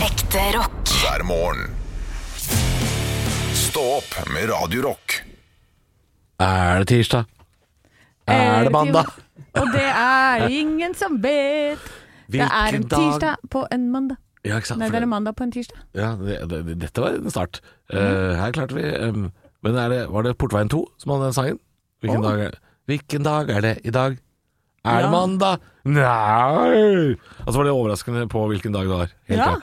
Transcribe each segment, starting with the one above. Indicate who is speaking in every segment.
Speaker 1: Ekte rock.
Speaker 2: hver morgen. Stå opp med Radio Rock.
Speaker 3: Er det tirsdag? Er det mandag?
Speaker 4: Eh, Og det er ingen som vet. det
Speaker 3: Hvilken
Speaker 4: er en
Speaker 3: dag?
Speaker 4: tirsdag på en mandag.
Speaker 3: Ja, ikke sant?
Speaker 4: Nei,
Speaker 3: For
Speaker 4: det er en mandag Mhm. på en tirsdag.
Speaker 3: ja, det, det, det, dette var en start. Eh, her klarte vi em, Men er det, var det Portveien 2 som hadde den sangen? Hvilken, dag er, hvilken dag er det i dag? Er det mandag? Nei! Og så var det overraskende på hvilken dag det var. Helt
Speaker 4: Ja.
Speaker 3: klart.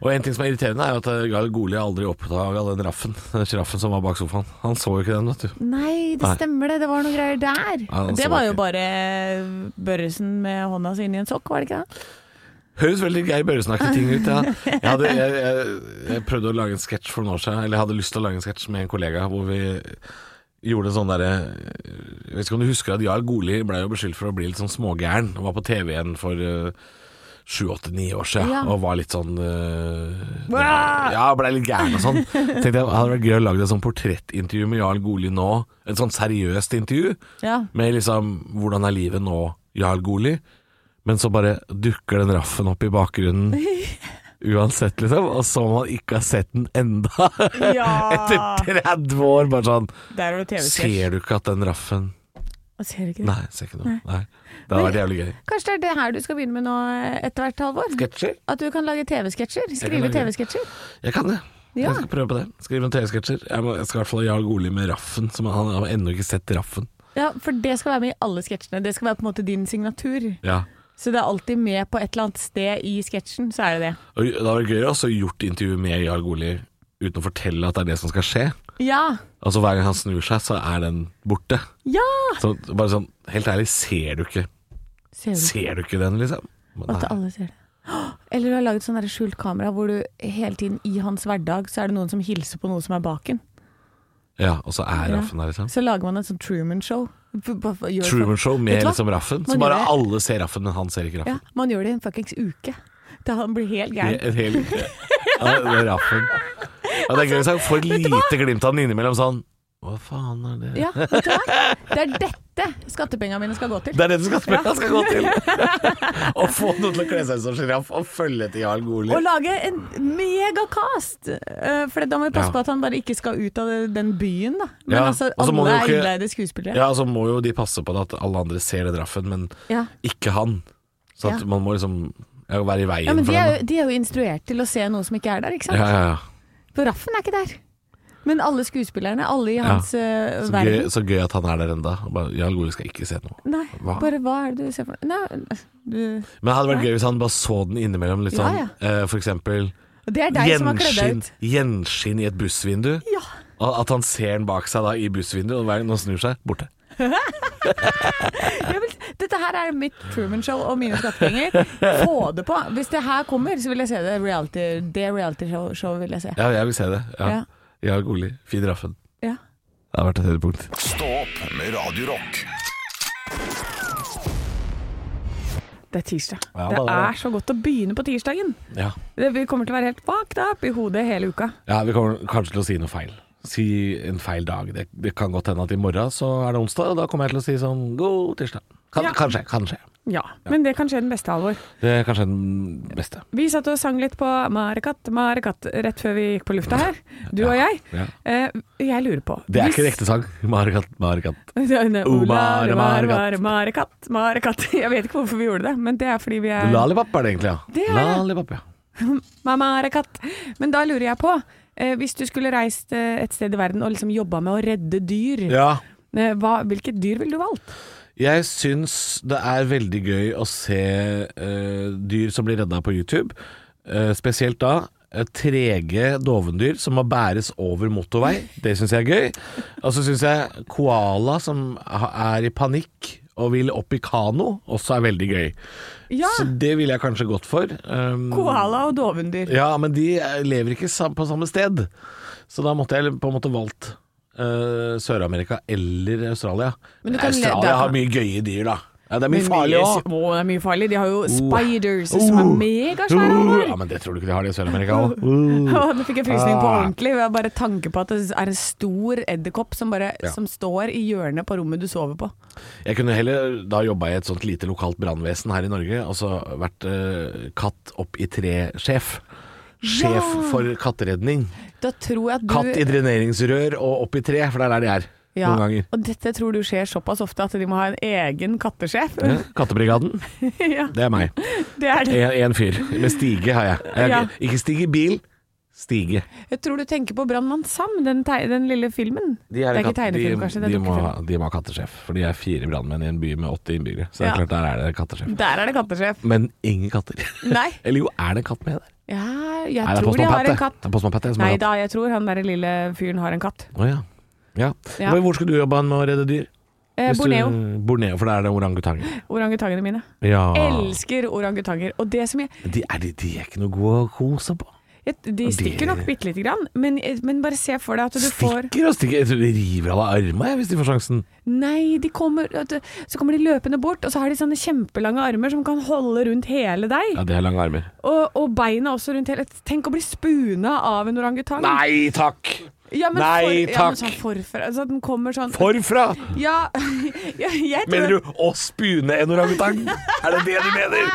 Speaker 3: Og en ting som er irriterende, er jo at eh, Gal Goli aldri oppdaga den raffen. Den sjiraffen som var bak sofaen. Han så jo ikke den, vet du.
Speaker 4: Nei, det
Speaker 3: Nei.
Speaker 4: stemmer det. Det var noen greier der.
Speaker 3: Ja, den
Speaker 4: det
Speaker 3: så
Speaker 4: var
Speaker 3: ikke.
Speaker 4: jo bare Børresen med hånda si inni en sokk, var det ikke det?
Speaker 3: Høres veldig Geir Børresen-aktig ting ut. Ja. Jeg, hadde, jeg, jeg, jeg prøvde å lage en sketsj for noen år siden, eller jeg hadde lyst til å lage en sketsj med en kollega hvor vi gjorde en sånn derre Jeg vet ikke om du husker at Jarl Goli ble jo beskyldt for å bli litt sånn smågæren. Han var på TV-en for eh, sju-åtte-ni år siden
Speaker 4: Ja.
Speaker 3: og var litt sånn eh,
Speaker 4: Wow!
Speaker 3: Ja, blei litt gæren og sånn. Tenkte jeg hadde vært gøy å lage et sånn portrettintervju med Jarl Goli nå. Et sånn seriøst intervju
Speaker 4: Ja.
Speaker 3: med liksom Hvordan er livet nå, Jarl Goli? Men så bare dukker den raffen opp i bakgrunnen uansett, liksom. Og som om han ikke har sett den enda. Etter 30 år, bare sånn
Speaker 4: Der var det TV-sketsj.
Speaker 3: Ser du Ah. ikke at den raffen
Speaker 4: Og Ser du ikke det?
Speaker 3: Nei, ser ikke noe. Nei. Det hadde vært jævlig gøy.
Speaker 4: Kanskje det er det her du skal begynne med nå eh, etter hvert, Halvor?
Speaker 3: Sketsjer?
Speaker 4: At du kan lage TV-sketsjer? Skrive
Speaker 3: lage-
Speaker 4: TV-sketsjer?
Speaker 3: Jeg kan det.
Speaker 4: Ja.
Speaker 3: Jeg skal prøve på det. Skrive noen TV-sketsjer. Jeg, må- jeg skal i hvert fall ha Jarl Goli med raffen. Som han han har ennå ikke sett raffen.
Speaker 4: Ja, for det skal være med i alle sketsjene. Det skal være på en måte din signatur.
Speaker 3: Ja.
Speaker 4: Så det er alltid med på et eller annet sted i sketsjen, så er det det.
Speaker 3: Og det hadde vært gøy også å gjort intervju med Jarl Goli uten å fortelle at det er det som skal skje.
Speaker 4: Ja!
Speaker 3: Altså Hver gang han snur seg, så er den borte.
Speaker 4: Ja!
Speaker 3: Så bare sånn, Helt ærlig, ser du ikke
Speaker 4: Ser du
Speaker 3: Ser du ikke den, liksom?
Speaker 4: Og at
Speaker 3: Nei.
Speaker 4: alle ser det. Åh! Eller du har laget sånn der skjult kamera hvor du hele tiden i hans hverdag så er det noen som hilser på noe som er baken.
Speaker 3: Ja, Og så er
Speaker 4: Ja.
Speaker 3: Raffen der, liksom.
Speaker 4: Så lager man et sånt Truman-show. B- b- f- gjør
Speaker 3: Truman
Speaker 4: folk-
Speaker 3: Show
Speaker 4: Vet
Speaker 3: med
Speaker 4: du hva?
Speaker 3: liksom Raffen. Så
Speaker 4: Man
Speaker 3: bare
Speaker 4: gjør det.
Speaker 3: alle ser Raffen, men han ser ikke
Speaker 4: Ja,
Speaker 3: Raffen.
Speaker 4: man gjør det i en fuckings uke. Da han blir helt
Speaker 3: Det
Speaker 4: gæren.
Speaker 3: er helt, ja, det er Raffen. Ja, det er gøy hvis han
Speaker 4: Altså,
Speaker 3: får et lite glimt av den innimellom sånn Hva faen er det?
Speaker 4: Ja, vet du hva? Det er dette skattepengene mine skal gå til.
Speaker 3: Det er det du skal spille, han skal gå til! Å få noen til å kle seg ut som sjiraff og følge etter Jarl Goli.
Speaker 4: Å lage en megakast! Eh, For da må vi passe
Speaker 3: Ja.
Speaker 4: på at han bare ikke skal ut av den byen, da. Men
Speaker 3: Ja,
Speaker 4: altså,
Speaker 3: og så må
Speaker 4: alle
Speaker 3: han jo
Speaker 4: er
Speaker 3: ikke-
Speaker 4: innleide skuespillere.
Speaker 3: Ja, så må jo de passe på det at alle andre ser den Raffen, men
Speaker 4: Ja.
Speaker 3: ikke han. Så at
Speaker 4: Ja.
Speaker 3: man må liksom ja, være i veien
Speaker 4: Ja, men
Speaker 3: for
Speaker 4: de er,
Speaker 3: den.
Speaker 4: jo, de er jo instruert til å se noe som ikke er der,
Speaker 3: da.
Speaker 4: ikke sant?
Speaker 3: Ja, ja, ja.
Speaker 4: For Raffen er ikke der. Men alle skuespillerne, alle i
Speaker 3: Ja.
Speaker 4: hans eh,
Speaker 3: Så gøy,
Speaker 4: verden.
Speaker 3: så gøy at han er der enda. Og bare, Jarl Goli skal ikke se noe.
Speaker 4: Nei,
Speaker 3: Hva?
Speaker 4: bare hva er det du ser for deg? Nei, du
Speaker 3: Men det hadde vært gøy hvis han bare så den innimellom. Litt
Speaker 4: Ja,
Speaker 3: sånn,
Speaker 4: ja.
Speaker 3: eh, for eksempel
Speaker 4: Og Det er deg som har kledd deg
Speaker 3: gjenskinn,
Speaker 4: ut.
Speaker 3: gjenskinn i et bussvindu.
Speaker 4: Ja.
Speaker 3: Og at han ser den bak seg da i bussvinduet, og hver gang han snur seg, borte.
Speaker 4: Jeg vil, dette her er mitt Truman-show og mine skattepenger. Få det på! Hvis det her kommer, så vil jeg se det. Reality, det reality-showet vil jeg se.
Speaker 3: Ja, jeg vil se det. Ja.
Speaker 4: Ja.
Speaker 3: Jarl Goli, fin raffen.
Speaker 4: Ja.
Speaker 3: Det har vært et høydepunkt.
Speaker 2: Stå opp med Radio Rock
Speaker 4: Det er tirsdag.
Speaker 3: Ja,
Speaker 4: det
Speaker 3: da, da.
Speaker 4: er så godt å begynne på tirsdagen.
Speaker 3: Ja.
Speaker 4: Det, vi kommer til å være helt fucked up i hodet hele uka.
Speaker 3: Ja, vi kommer kanskje til å si noe feil. Si en feil dag. Det, det kan godt hende at i morgen så er det onsdag, og da kommer jeg til å si sånn god tirsdag. Kan,
Speaker 4: Ja.
Speaker 3: Kanskje, kanskje.
Speaker 4: Ja, men det kan skje den beste alvor.
Speaker 3: Det er kanskje den beste.
Speaker 4: Vi satt og sang litt på Marekat, Marekat rett før vi gikk på lufta her. Du og jeg.
Speaker 3: Ja.
Speaker 4: Eh, jeg lurer på
Speaker 3: Det er ikke
Speaker 4: hvis-
Speaker 3: riktig sang. Marikat, Marikat.
Speaker 4: Oh, mare, mare,
Speaker 3: Mare,
Speaker 4: mare, mare, katt, mare, katt. Jeg vet ikke hvorfor vi gjorde det, men det er fordi vi er
Speaker 3: Lollipop er det egentlig, ja.
Speaker 4: Det er det.
Speaker 3: Lollipop, ja.
Speaker 4: Mamma er en katt. Men da lurer jeg på, eh, hvis du skulle reist eh, et sted i verden og liksom jobba med å redde dyr,
Speaker 3: ja.
Speaker 4: eh, hva, hvilket dyr ville du valgt?
Speaker 3: Jeg syns det er veldig gøy å se eh, dyr som blir redda på YouTube. Eh, spesielt da eh, trege dovendyr som må bæres over motorvei. Det syns jeg er gøy. Og så syns jeg koala som ha- er i panikk og vil opp i kano, også er veldig gøy.
Speaker 4: Ja,
Speaker 3: Så det ville jeg kanskje gått for. Um,
Speaker 4: koala og dovendyr.
Speaker 3: ja, men de eh, lever ikke sam- på samme sted. Så da måtte jeg på en måte valgt eh, Sør-Amerika eller Australia.
Speaker 4: Men du
Speaker 3: Men
Speaker 4: kan le-
Speaker 3: Australia
Speaker 4: da-
Speaker 3: har mye gøye dyr, da. Ja, det er mye
Speaker 4: Men
Speaker 3: farlig
Speaker 4: mye-
Speaker 3: òg.
Speaker 4: Å, det er mye farlig. De har jo spiders som er megasvære.
Speaker 3: Oh. Ja,
Speaker 4: Halvor.
Speaker 3: men det tror du ikke de har det i Sør-Amerika Oh. òg.
Speaker 4: Å, Nå fikk jeg frysning på
Speaker 3: Ah.
Speaker 4: ordentlig ved bare tanke på at det er en stor edderkopp som, bare- som står i hjørnet på rommet du sover på.
Speaker 3: Jeg kunne heller da jobba i et sånt lite lokalt brannvesen her i Norge, og så vært eh, katt opp i tre-sjef. sjef
Speaker 4: Ja.
Speaker 3: for katteredning.
Speaker 4: Da tror jeg at du
Speaker 3: Katt i dreneringsrør og opp i tre, for det er der de er
Speaker 4: Ja,
Speaker 3: noen ganger.
Speaker 4: Og dette tror du skjer såpass ofte at de må ha en egen kattesjef.
Speaker 3: Ja, Kattebrigaden,
Speaker 4: ja,
Speaker 3: det er meg.
Speaker 4: det er det.
Speaker 3: En, en fyr. Med stige har jeg. jeg
Speaker 4: Ja.
Speaker 3: Ikke stige bil, stige.
Speaker 4: Jeg tror du tenker på Brannmann Sam, den, teg- den lille filmen.
Speaker 3: De er
Speaker 4: det
Speaker 3: katt-
Speaker 4: er ikke tegnefilm,
Speaker 3: de,
Speaker 4: kanskje. Det er
Speaker 3: de, må
Speaker 4: dukkefilm.
Speaker 3: ha, de må ha kattesjef, for de er fire brannmenn i en by med 80 innbyggere. Så det er
Speaker 4: Ja.
Speaker 3: klart, der er det kattesjef.
Speaker 4: Der er det kattesjef.
Speaker 3: Men ingen katter.
Speaker 4: Nei.
Speaker 3: Eller jo, er det en katt med der?
Speaker 4: Ja, jeg
Speaker 3: Nei, det er
Speaker 4: tror de
Speaker 3: Postmann Pat,
Speaker 4: har
Speaker 3: det.
Speaker 4: en katt.
Speaker 3: Det er Postmann Pat, det, som
Speaker 4: Nei
Speaker 3: har katt.
Speaker 4: da, jeg tror han derre lille fyren har en katt.
Speaker 3: Å ja. Ja.
Speaker 4: Ja.
Speaker 3: Hvor- Hvor skulle du jobbe med å redde dyr?
Speaker 4: Eh,
Speaker 3: Hvis du-
Speaker 4: Borneo.
Speaker 3: Borneo, for der er det orangutanger.
Speaker 4: Orangutangene mine.
Speaker 3: Ja.
Speaker 4: Elsker orangutanger. Og det som jeg
Speaker 3: De er, de, de er ikke noe gode å kose på.
Speaker 4: jeg- De
Speaker 3: Og
Speaker 4: stikker
Speaker 3: det-
Speaker 4: nok bitte lite grann, men, men bare se for deg at du får
Speaker 3: Stikker og stikker. Jeg tror de river av deg armene hvis de får sjansen.
Speaker 4: Nei, de kommer at- Så kommer de løpende bort, og så har de sånne kjempelange armer som kan holde rundt hele deg.
Speaker 3: Ja, de har lange armer.
Speaker 4: Og, og beina også rundt hele Tenk å bli spuna av en orangutang.
Speaker 3: Nei takk!
Speaker 4: ja, men
Speaker 3: nei,
Speaker 4: for, ja, men
Speaker 3: takk.
Speaker 4: sånn forfra altså, Den kommer sånn
Speaker 3: Forfra!
Speaker 4: Ja, ja, jeg tror
Speaker 3: Mener du å spune en orangutang? Er det det du mener?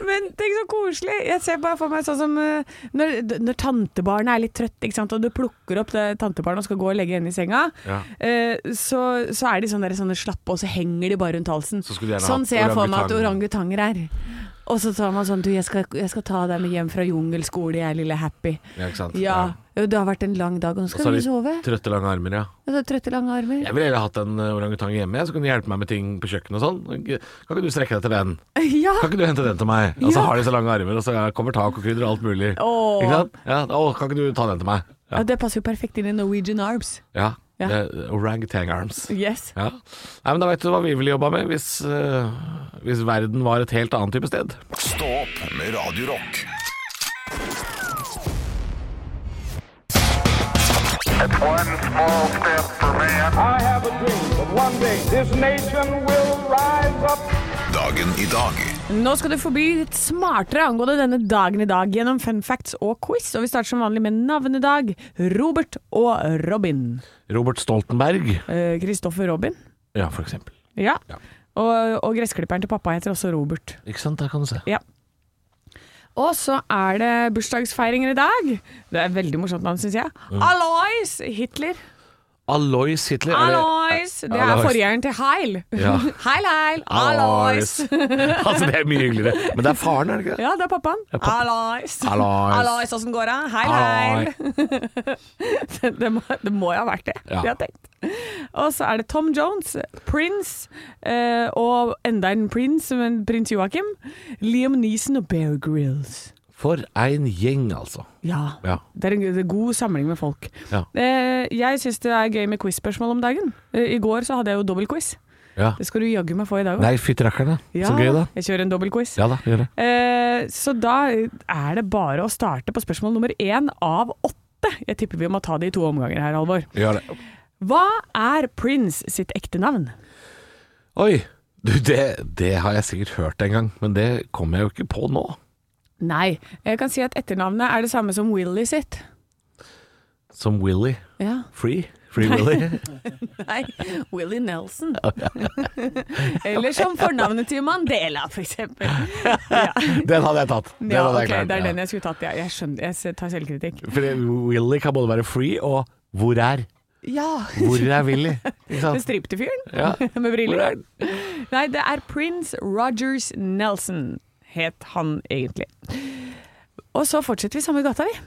Speaker 4: Men tenk så koselig. Jeg ser bare for meg sånn som eh, når, når tantebarnet er litt trøtt, ikke sant? og du plukker opp det tantebarnet og skal gå og legge henne i senga,
Speaker 3: Ja.
Speaker 4: eh, så, så er de sånne, der, sånne slappe, og så henger de bare rundt halsen.
Speaker 3: Så skulle du gjerne
Speaker 4: sånn
Speaker 3: hatt
Speaker 4: ser jeg for meg at
Speaker 3: orangutang.
Speaker 4: orangutanger er. Og så tar man sånn Du, jeg skal, jeg skal ta deg med hjem fra jungelskole, jeg lille happy.
Speaker 3: Ja, ikke sant?
Speaker 4: Ja. Jo, Det har vært en lang dag, og nå
Speaker 3: Og så har
Speaker 4: skal
Speaker 3: de
Speaker 4: du sove.
Speaker 3: Trøtte, lange armer, ja.
Speaker 4: Og så trøtte, lange armer.
Speaker 3: Jeg ville heller hatt en eh, orangutang hjemme, jeg, så kunne de hjelpe meg med ting på kjøkkenet og sånn. Kan ikke du strekke deg til den?
Speaker 4: Ja!
Speaker 3: Kan ikke du hente den til meg? Og så
Speaker 4: Ja.
Speaker 3: har de så lange armer, og så kommer tak og krydder og alt mulig.
Speaker 4: Åh.
Speaker 3: Ikke sant? Ja, å, kan ikke du ta den til meg? Ja.
Speaker 4: Ja, det passer jo perfekt inn i Norwegian Arms.
Speaker 3: ja.
Speaker 4: Ja.
Speaker 3: Det er Orangutan arms.
Speaker 4: Yes.
Speaker 3: Ja. Nei, men da veit du hva vi ville jobba med hvis, eh, hvis verden var et helt annet type sted.
Speaker 2: Stå opp med Radio Rock.
Speaker 1: It's one small step for man.
Speaker 5: I have a dream that one day this nation will rise up.
Speaker 2: Dagen i dag
Speaker 4: Nå skal du få bli litt smartere angående denne dagen i dag gjennom fun facts og quiz. Og vi starter som vanlig med navnedag. Robert og Robin.
Speaker 3: Robert Stoltenberg,
Speaker 4: Kristoffer Robin.
Speaker 3: ja, for eksempel.
Speaker 4: Ja.
Speaker 3: Ja.
Speaker 4: Og, og gressklipperen til pappa heter også Robert.
Speaker 3: Ikke sant, der kan du se.
Speaker 4: Ja. Og så er det bursdagsfeiringer i dag. Det er veldig morsomt navn, syns jeg. Alois Hitler.
Speaker 3: Alois Hitler. Mm. er det-
Speaker 4: Alois! Det er
Speaker 3: Alois.
Speaker 4: forgjengeren til Heil.
Speaker 3: Ja.
Speaker 4: Heil, Heil. Alois.
Speaker 3: altså, det er mye hyggeligere. Men det er faren, er det ikke det?
Speaker 4: Ja, det er pappaen. Alois.
Speaker 3: Alois.
Speaker 4: Alois, åssen går det? Heil, heil.
Speaker 3: Alois.
Speaker 4: det, må, det må jo ha vært det
Speaker 3: Ja.
Speaker 4: de har tenkt. Og så er det Tom Jones, Prince eh, og enda en Prince, men prins Joakim. Liam Neeson og Bear Grylls.
Speaker 3: For en gjeng, altså.
Speaker 4: Ja.
Speaker 3: Ja.
Speaker 4: Det er en det er god samling med folk.
Speaker 3: Ja.
Speaker 4: Eh, jeg syns det er gøy med quiz-spørsmål om dagen. Eh, I går så hadde jeg jo dobbeltquiz.
Speaker 3: ja.
Speaker 4: Det skal du jaggu meg få i dag òg.
Speaker 3: Nei, fytti rakkerne.
Speaker 4: Ja,
Speaker 3: Så gøy, da.
Speaker 4: Jeg kjører en dobbeltquiz.
Speaker 3: Ja da, gjør det.
Speaker 4: Eh, så da er det bare å starte på spørsmål nummer én av åtte. Jeg tipper vi må ta det i to omganger her, Halvor.
Speaker 3: Gjør det.
Speaker 4: Hva er Prince sitt ekte navn?
Speaker 3: Oi! Du, det, det har jeg sikkert hørt en gang, men det kommer jeg jo ikke på nå.
Speaker 4: Nei, jeg kan si at etternavnet er det samme som Willy sitt.
Speaker 3: Som Willy.
Speaker 4: Ja,
Speaker 3: Free. Free Willy.
Speaker 4: nei, Willy Nelson. Eller som fornavnet til Mandela, for eksempel.
Speaker 3: Den hadde jeg tatt. Den
Speaker 4: Ja,
Speaker 3: hadde
Speaker 4: ok,
Speaker 3: jeg klart.
Speaker 4: det er
Speaker 3: ja.
Speaker 4: den jeg skulle tatt. Ja, jeg skjønner, jeg s- tar selvkritikk.
Speaker 3: For Willy kan både være free og hvor er?
Speaker 4: Ja,
Speaker 3: Hvor er Willy? Ikke
Speaker 4: den
Speaker 3: sant?
Speaker 4: stripte fyren
Speaker 3: Ja.
Speaker 4: med
Speaker 3: Hvor er
Speaker 4: briller.
Speaker 3: den?
Speaker 4: Nei, det er Prince Rogers Nelson, het han egentlig. Og så fortsetter vi samme gata, vi.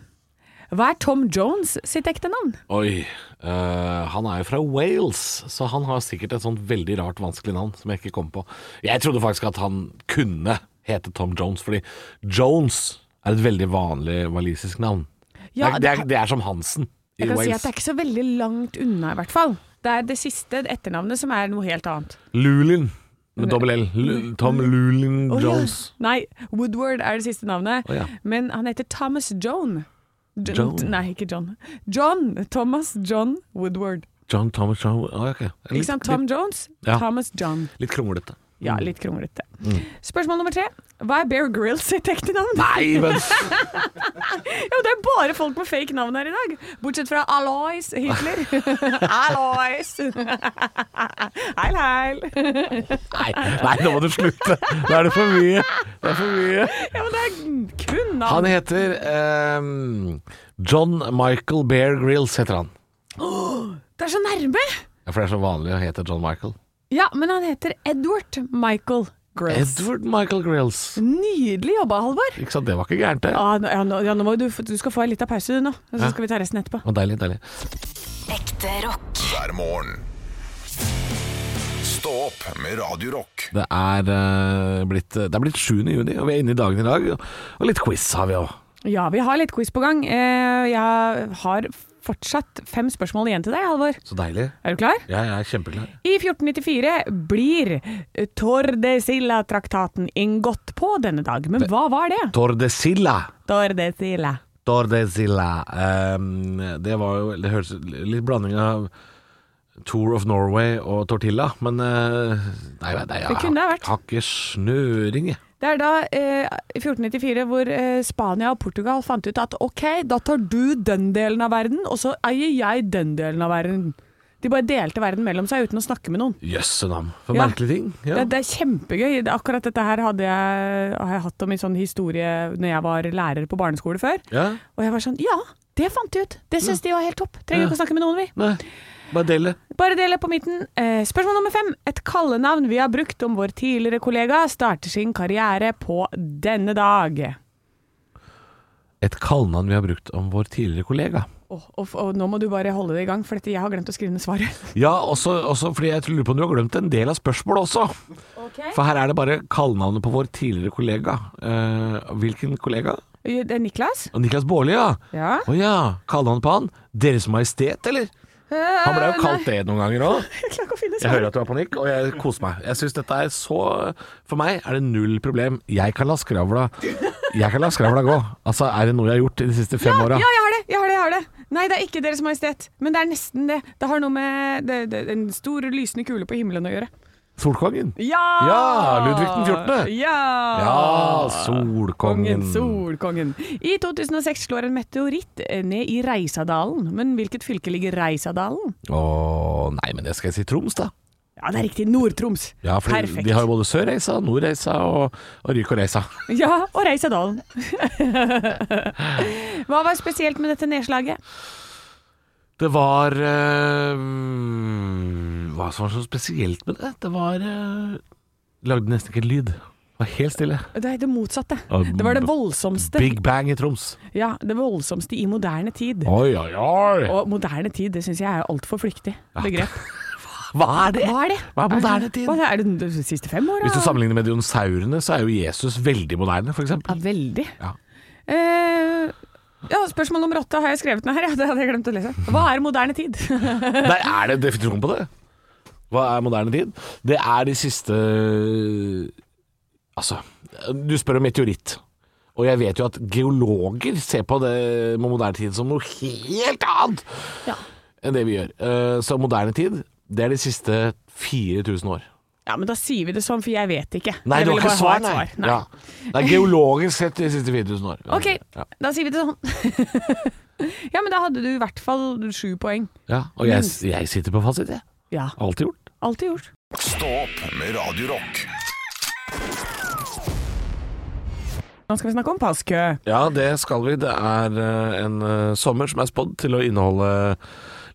Speaker 4: Hva er Tom Jones sitt ekte navn?
Speaker 3: Oi. eh, han er jo fra Wales, så han har sikkert et sånt veldig rart vanskelig navn som jeg ikke kom på. Jeg trodde faktisk at han kunne hete Tom Jones, fordi Jones er et veldig vanlig walisisk navn.
Speaker 4: Ja,
Speaker 3: det, er, det, er, det er som Hansen i
Speaker 4: Jeg kan si
Speaker 3: Wales.
Speaker 4: at det er ikke så veldig langt unna, i hvert fall. Det er det siste etternavnet som er noe helt annet.
Speaker 3: Lulin med dobbel L. Lu- Tom Lulin
Speaker 4: Å, ja.
Speaker 3: Jones.
Speaker 4: Nei, Woodward er det siste navnet.
Speaker 3: Å, Oh, ja.
Speaker 4: Men han heter Thomas Joan. Jo-
Speaker 3: Joan.
Speaker 4: Nei, ikke John. John! Thomas John Woodward.
Speaker 3: John Thomas Jones. Å, ok. Litt,
Speaker 4: Ikke sant? Tom Jones,
Speaker 3: Ja. Mm.
Speaker 4: Thomas John.
Speaker 3: litt, litt kronglete.
Speaker 4: Ja, litt kronglete. Spørsmål nummer tre. Hva er Bear Grylls sitt ekte navn?
Speaker 3: Nei, men
Speaker 4: Jo, det er bare folk med fake navn her i dag. Bortsett fra Alois Hitler. Alois! Heil, heil.
Speaker 3: Nei, nei, nå må du slutte. Nå er det for mye. Det er for mye.
Speaker 4: Ja, men det er kun
Speaker 3: Han
Speaker 4: navn.
Speaker 3: heter ehm, John Michael Bear Grills, heter han.
Speaker 4: Det er så nærme!
Speaker 3: Ja, For det er så vanlig å hete John Michael.
Speaker 4: Ja, men han heter Edward Michael Grylls.
Speaker 3: Edward Michael Grills.
Speaker 4: Nydelig jobba, Halvor.
Speaker 3: Ikke sant, det var ikke gærent, det.
Speaker 4: Ja, nå- ja, nå- ja, nå må du, få- du skal få en liten pause du nå, og så skal vi ta resten etterpå.
Speaker 3: Og deilig, deilig.
Speaker 6: Ekte rock.
Speaker 2: hver morgen. Stå opp med Radio Rock.
Speaker 3: Det er eh, blitt Det er blitt 7. juni, og vi er inne i dagen i dag. Og litt quiz har vi òg.
Speaker 4: Ja, vi har litt quiz på gang. Eh, Jeg har fortsatt fem spørsmål igjen til deg, Halvor.
Speaker 3: Så deilig.
Speaker 4: Er du klar?
Speaker 3: Ja, jeg er kjempeklar.
Speaker 4: I 1494 blir Tordesilla-traktaten inngått på denne dag, men hva var det?
Speaker 3: Tordesilla.
Speaker 4: Tordesilla.
Speaker 3: Tordesilla. Ehm, det var jo Det høres litt blanding av Tour of Norway og Tortilla, men eh, Nei, nei, nei jeg
Speaker 4: Det kunne det
Speaker 3: har-
Speaker 4: vært.
Speaker 3: har ikke snøring, jeg.
Speaker 4: Det er da eh, i 1494 hvor eh, Spania og Portugal fant ut at ok, da tar du den delen av verden, og så eier jeg den delen av verden. De bare delte verden mellom seg uten å snakke med noen.
Speaker 3: Jøsse navn. For
Speaker 4: Ja.
Speaker 3: merkelige ting. Ja.
Speaker 4: Det, det er kjempegøy. Det- Akkurat dette her hadde jeg, har jeg hatt om i sånn historie når jeg var lærer på barneskole før.
Speaker 3: ja.
Speaker 4: Og jeg var sånn ja, det fant de ut. Det syns de var helt topp. Trenger
Speaker 3: Ja.
Speaker 4: ikke å snakke med noen, vi.
Speaker 3: Nei, bare del det.
Speaker 4: Bare dele på midten. Eh, spørsmål nummer fem. Et kallenavn vi har brukt om vår tidligere kollega, starter sin karriere på denne dag.
Speaker 3: Et kallenavn vi har brukt om vår tidligere kollega.
Speaker 4: Åh, og, f- og nå må du bare holde det i gang, for dette, jeg har glemt å skrive ned svaret.
Speaker 3: Ja, også, også fordi jeg lurer på om du har glemt en del av spørsmålet også. For her er det bare kallenavnet på vår tidligere kollega. Eh, hvilken kollega?
Speaker 4: Det er Niklas.
Speaker 3: Og Niklas Baarli, ja.
Speaker 4: Ja.
Speaker 3: Å ja. Kallenavnet på han? Deres Majestet, eller?
Speaker 4: Eh,
Speaker 3: Han ble jo kalt det noen ganger òg.
Speaker 4: Jeg klarer ikke å finne
Speaker 3: Jeg hører
Speaker 4: svaret.
Speaker 3: at du har panikk, og jeg koser meg. Jeg synes dette er så For meg er det null problem. Jeg kan la skravla Jeg kan la skravla gå. Altså, er det noe jeg har gjort i de siste fem åra?
Speaker 4: Ja, jeg har det! Jeg har det, jeg har det. Nei, det er ikke Deres Majestet, men det er nesten det. Det har noe med det, det, en stor lysende kule på himmelen å gjøre.
Speaker 3: Solkongen?
Speaker 4: Ja!
Speaker 3: Ja, Ludvig den 14..
Speaker 4: Ja!
Speaker 3: Ja, Solkongen.
Speaker 4: Kongen, solkongen. I 2006 slår en meteoritt eh, ned i Reisadalen. Men hvilket fylke ligger Reisadalen?
Speaker 3: Å, nei, men det skal jeg si Troms, da.
Speaker 4: Ja, det er riktig. Nord-Troms.
Speaker 3: Ja, for
Speaker 4: Perfekt.
Speaker 3: de har jo både Sørreisa, Nordreisa og, og Ryk og Reisa.
Speaker 4: Ja, og Reisadalen. Hva var spesielt med dette nedslaget?
Speaker 3: Det var eh, mm, Hva som var så spesielt med det? Det var eh, Lagde nesten ikke en lyd. Det var helt stille.
Speaker 4: Det er det motsatte.
Speaker 3: Ah,
Speaker 4: Det var det voldsomste.
Speaker 3: Big bang i Troms.
Speaker 4: Ja, det voldsomste i moderne tid.
Speaker 3: Oi, oi, oi!
Speaker 4: Og moderne tid, det syns jeg er altfor flyktig begrep.
Speaker 3: Hva er det?
Speaker 4: Hva er det?
Speaker 3: Hva er moderne tid?
Speaker 4: Hva er det de siste fem åra?
Speaker 3: Hvis du sammenligner med dinosaurene, så er jo Jesus veldig moderne, f.eks.
Speaker 4: Ja, veldig.
Speaker 3: Ja.
Speaker 4: Eh, ja, spørsmål nummer åtte har jeg skrevet ned her. Ja, det hadde jeg glemt å lese. Hva er moderne tid?
Speaker 3: Nei, er det en definisjon på det? Hva er moderne tid? Det er de siste Altså, du spør om meteoritt. Og jeg vet jo at geologer ser på det med moderne tid som noe helt annet enn det vi gjør. Eh, Så moderne tid, det er de siste 4000 år.
Speaker 4: Ja, men da sier vi det sånn, for jeg vet ikke.
Speaker 3: Nei,
Speaker 4: Jeg
Speaker 3: du har
Speaker 4: ville
Speaker 3: ikke svar,
Speaker 4: bare ha et
Speaker 3: nei.
Speaker 4: Nei.
Speaker 3: Ja. Det er geologisk sett de siste 4000 år.
Speaker 4: Ok,
Speaker 3: Ja.
Speaker 4: da sier vi det sånn. ja, men da hadde du i hvert fall sju poeng.
Speaker 3: ja. Og jeg, jeg sitter på fasit, jeg.
Speaker 4: Ja,
Speaker 3: Alltid gjort.
Speaker 4: alltid gjort.
Speaker 2: Stå opp med Radio Rock
Speaker 4: Nå skal vi snakke om passkø.
Speaker 3: Ja, det skal vi. Det er eh, en eh, sommer som er spådd til å inneholde